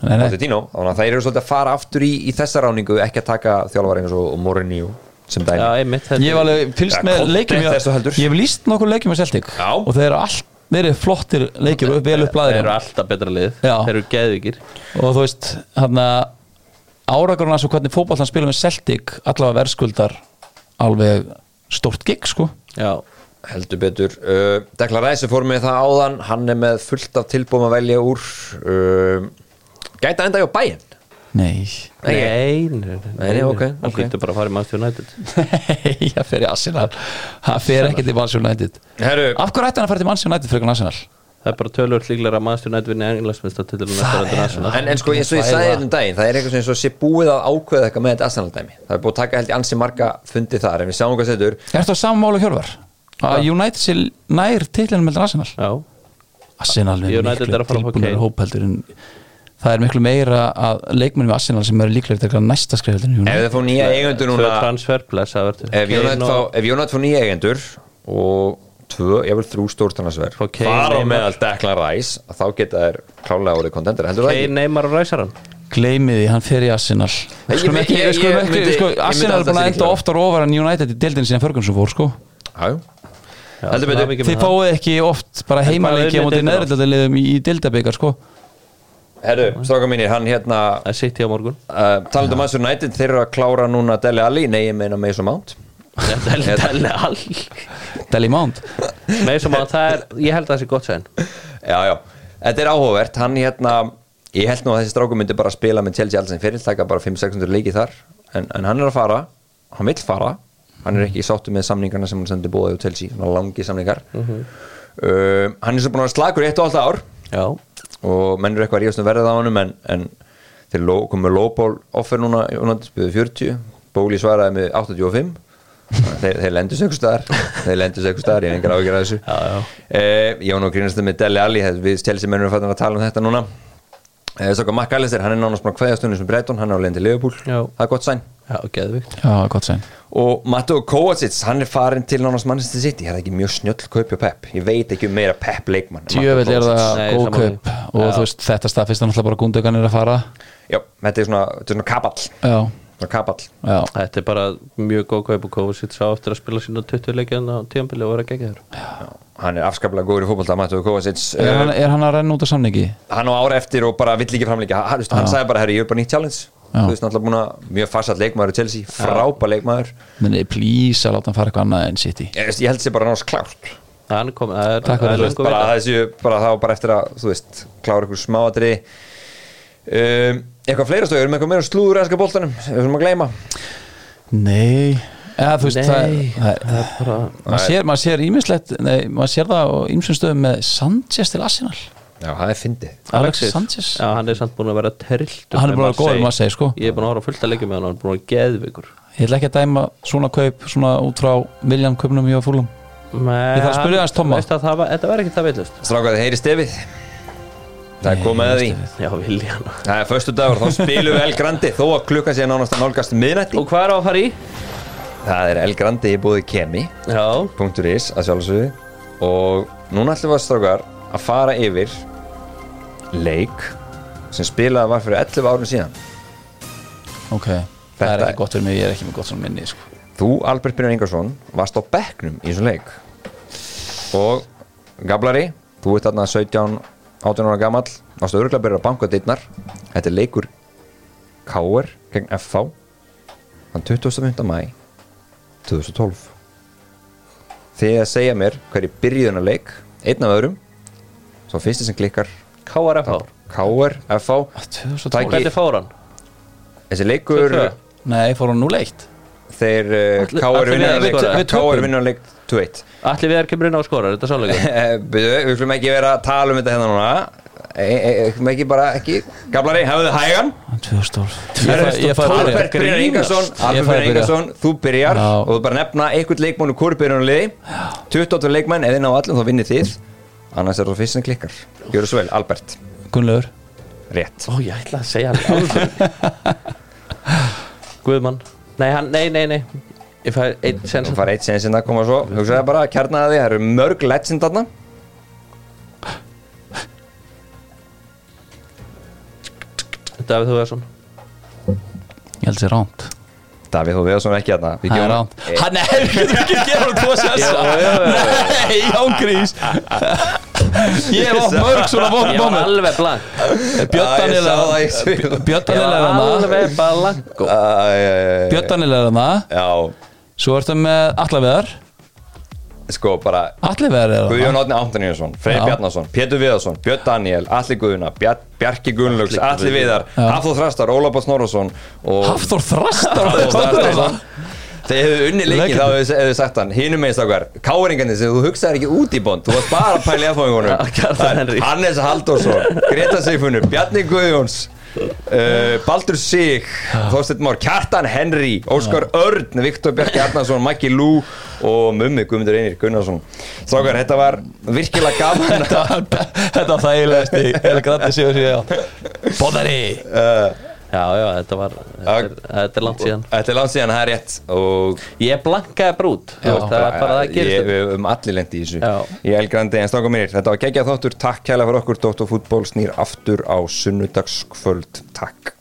Nei, nei.
Pochettino, þannig að þeir eru svolítið að fara aftur í, í þessa ráningu, ekki að taka þjálfari eins og Morinni sem dæmi
Já, einmitt þetta
Ég hef alveg fylst
Ja,
með
Conte
leikjum hjá-
þessu heldur.
Ég hef líst nokkur leikjum með Celtic
Já.
Og þeir eru allt, þeir eru flottir leikjum upp Vel upp
Þeir
blæðir
eru alltaf betra lið,
Já.
þeir eru geðvikir
Og þú veist, hann að Áragrun hans og hvernig fótbollan spila með Celtic Allavega verðskuldar Alveg stórt gig sko
Já,
heldur betur uh, Dekla Ræsi fór með það áðan hann er með fullt af tilbúum að velja úr uh, gæta enda hjá bæinn
Nei
Nei,
nei, nei, nei,
Nei, nei, ok,
Hann
ok.
getur bara að fara í Manchester United
Nei, það fer í Arsenal Það fer ekki til Manchester United
Herru,
Af hverju ætti hann að fara til Manchester United fyrir Arsenal?
Það er bara tölvöld líklega að Manchester United vinni englansmyndstartitlun
Það
næsta
er
international
en, en sko eins og ég
Fæða.
sagði hérna um daginn það er eitthvað sem eins og sé búið að ákveða eitthvað með þetta Arsenal dæmi það er búið að taka held í ansi marga fundi þar en við sjáum hvað setur
Er það sammálu hjörvar? Að United sé nær titlinum með Arsenal?
Já,
Arsenal er
United
miklu
er að fara á
tilbúinari
Kane.
hópheldur en það er miklu meira að leikmennum við Arsenal sem eru líklega til að næsta skrifheldur en
ef
United
þið fá nýja eigendur
þau
núna
transferbless það verður
ef
Kane
Jónat
og-
fá, ef United fá nýja eigendur og tvö, ég vil þrjú stórtarnasver
Fá Kane,
fara á
Neymar.
meðal Dekla Ræs þá geta þær klálega orðið kontender heldur það
Kane,
ekki?
Neymar og Ræsaran
gleymið því, hann fer í Arsenal
Ég-
Skulum
ég-
ekki,
ég-
skulum
ég
ekki,
myndi-
sko,
ég myndi
Arsenal er
halda
búin að
sig
enda
líklega.
oftar ofar en United í deildin síðan Ferguson fór sko
Já, já. heldur betur
Ekki með
Þið
það.
fáið ekki oft bara
En bara
heimaleiki á
unnið
móti
deildina.
neðrildaliðum í, í deildabikar sko
Herru, stráka mínir, hann hérna
Það sitt ég á morgun
uh, talandi um Manchester United, þeir eru að klára núna Dele Alli, nei ég meina Mason Mount
Þetta er dæli all
Deli Mount
Nei, sem að það er, ég held að það sé gott sæðin
Já, já, þetta er áhugavert hann hérna, ég held nú að þessi stráku myndi bara spila með Chelsea alls en fyrir, taka bara 5-600 leiki þar, en, en hann er að fara hann vill fara, hann er ekki sáttu með samningarna sem hann sendi bóðið á Chelsea hann langi samningar uh, hann er svo búin að vera slagur í eitt og alltaf ár
Já,
og menn eru eitthvað að ríðast um verðið á honum en, en þeir ló, komu með lowball offer núna, Jónat spöðu 40 Bóli svaraði með 85 Þannig að þeir, þeir lendu sig ykkur staðar þeir lendu sig ykkur staðar, ég hef engar ágjör að þessu
Já, já.
Eh, ég var nú að grínast með Deli Alli þegar við stjálsum mennum fannum að tala um þetta núna eh, Sáka Mark Allister, hann er nánast búin að kveðja stundum sem Breiton, hann er á leiðin til Liverpool
Já.
það er gott sæn
já, geðvikt
Já, gott sæn
og Matteo Kovacic, hann er farin til nánast mannstu sitt, ég er það ekki mjög snjöll kaupja Pep, ég veit ekki um meira Pep leikmann en Matteo
Tjövel
Kovacic.
er
Nei,
það góð
sammála því.
kaup og
Já.
þú veist þetta staðfist hann alltaf bara gúndögan er að fara
Já, þetta er svona, þetta er svona kapall
Já,
svona kapall
já
Þetta er bara mjög góð kaup og Kovacic sá eftir að spila sína 20 leikjan á tíambili og vera að gegja þér
hann er afskaplega góður í fótbolta Matteo Kovacic
Er
uh,
hann, er hann að renna út á samningi?
hann á ára eftir og bara vill ekki framleika hann, hann sagði bara, herri, ég er bara nýtt challenge
Já.
þú veist náttúrulega búin að mjög farsall leikmaður í Chelsea, frápa leikmaður
Meni, please að láta hann fara eitthvað annað en City
ég, veist, ég held sér bara náttúrulega klárt
Hann kom, það er,
Takk
það
fyrir
er
þetta.
löngu
bara
vita
að þessu, bara þá bara eftir að þú veist, klára ykkur smáatri um, eitthvað fleira stöður með eitthvað meira slúður ennska boltanum sem sem að gleyma
Nei Eða, þú veist,
Nei,
það, það,
það er bara
maður sér, maður sér ímislegt Nei, maður sér það á ýmsum stöðum með Sanchez til Arsenal
já, það er fyndið
Alexis Sanchez
Já, hann er samt búin að vera terlt
Hann er búin að vera góður í Marseille, sko.
Ég er búin að horfa á fullt að leikja með hann, hann er búin að vera geðvikur
Ég ætla ekki að dæma svona kaup svona út frá William kaupnum hjá fúlum
Nei,
Ég þarf að spyrja aðeins Tomma.
veist að það var- Þetta var ekki það veitlust
strákaði heyri stefið það er komið að því
Já, Viljan
það er föstu dagur, þá spilum við El Grandi þó að klukkan sé nánast að nálgast miðnætti
Og hvað er á að fara í?
það er El Grandi í búið Kemi
Já,
.is að sjálfsögðu og núna ætlum við að strákar að fara yfir leik sem spilaði var fyrir 11 árum síðan
Ok, það er
Þetta-
ekki gott fyrir mig, ég er ekki með gott svona minni sko.
þú Albert Brynjar Ingarsson varst á bekknum í þessum leik og Gablari þú ert þarna 17 18 ára gamall varst örgulega að byrja að banka dittnar þetta er leikur KR gegn FV þann 25. mæ 2012 þegar að segja mér hverju byrjuðuna leik einn af öðrum svo fyrsti sem klikkar
KRFH
KR FV
2012
Tæki-
Hvernig fór hann?
þessi leikur
2-2.
Nei, fór hann nú leitt
þeir uh,
Allir-
KR
allir við-
vinnunarleik
við- við
KR vinnunarleik 2-1
Allir við erum kemur inn á að skora, er þetta sannleika?
Eh, Byrju, við skulum ekki vera að tala um þetta hérna núna Eh, eh, eh, Við e, ekki bara ekki Gablari, hafðu þið hægan
2012
Albert Brynjar Ingarsson Albert Brynjar Ingarsson, þú byrjar
Já.
og þú bara nefna einhvern leikmann úr hvori byrjunarliði 28 leikmenn, ef þið ná allum þá vinnir þið annars er það fyrst sem klikkar Gjöru svo vel, Albert,
Gunnlaugur
rétt
Ó, ég ætla að segja hann alveg Guðmann Nei, hann, nei, nei, nei Ég fær einn sens
Þú fara eitt sen sinna að koma svo Hugsaðu bara að kjarnaði, það eru mörg legend þarna
Davíð Þúðarsson
Ég held sér ránt
Davíð, þú veður svona ekki þarna Við
Það er
gefum-
ránt Hann er ekki að gefa hann tvo sessa
Jú, jú, jú.
Nei, ángrís Ég er á mörg svona vond
Ég var
moment
alveg blank
Æ, ég sá það í
Bjöttanil
svipnum.
Bjöttanil er hann
Alveg blank
Æ, æ, æ, æ.
Bjöttanil er hann
Já,
Svo ertu með Allavegar
sko bara
Allavegar er hann
Guðjón Átni Antoníusson, Freyr
Já.
Bjarnason, Pétur Viðarsson, Björn Daniel, Alli Guðuna, Bjar Bjarki Gunnlaugs, Alli Viðar, Hafþór Þrastar, Ólafur Snorrason og
Hafþór Þrastar
Hafþór Þrastarsson. Þeir hefðu unni leikið
Leikir.
þá hefðu hefðu sagt hann Hinum meins okkar, káringarnir sem þú hugsaðir ekki út í bond Þú varst bara að pæla í
Já, Kjartan
aðfóðingunum
Henry.
Hannes Halldórsson, Greta Seifunur, Bjarni Guðjóns uh, Baldur Sig, Þorsteinn Már, Kjartan Henry Óskar Örn, Viktor Bjarki Arnarsson, Maggi Lú og Mummi Guðmundur Einir Gunnarsson Strákar, þetta var virkilega gaman
Þetta þetta var þægilegast Eða grætti sig og sig já Bóðari
Já, já, þetta var Þetta er, þetta er langt síðan
Þetta er langt síðan, það er rétt og
Ég blankaði brút já, veist, Það er bara það að
Ég-
gerist
Við höfum allir lendi í þessu
Já.
Ég er grandi en stráka mínir Þetta var geggjað þáttur, takk kæla fyrir okkur Dóttar fútból snýr aftur á sunnudagskvöld Takk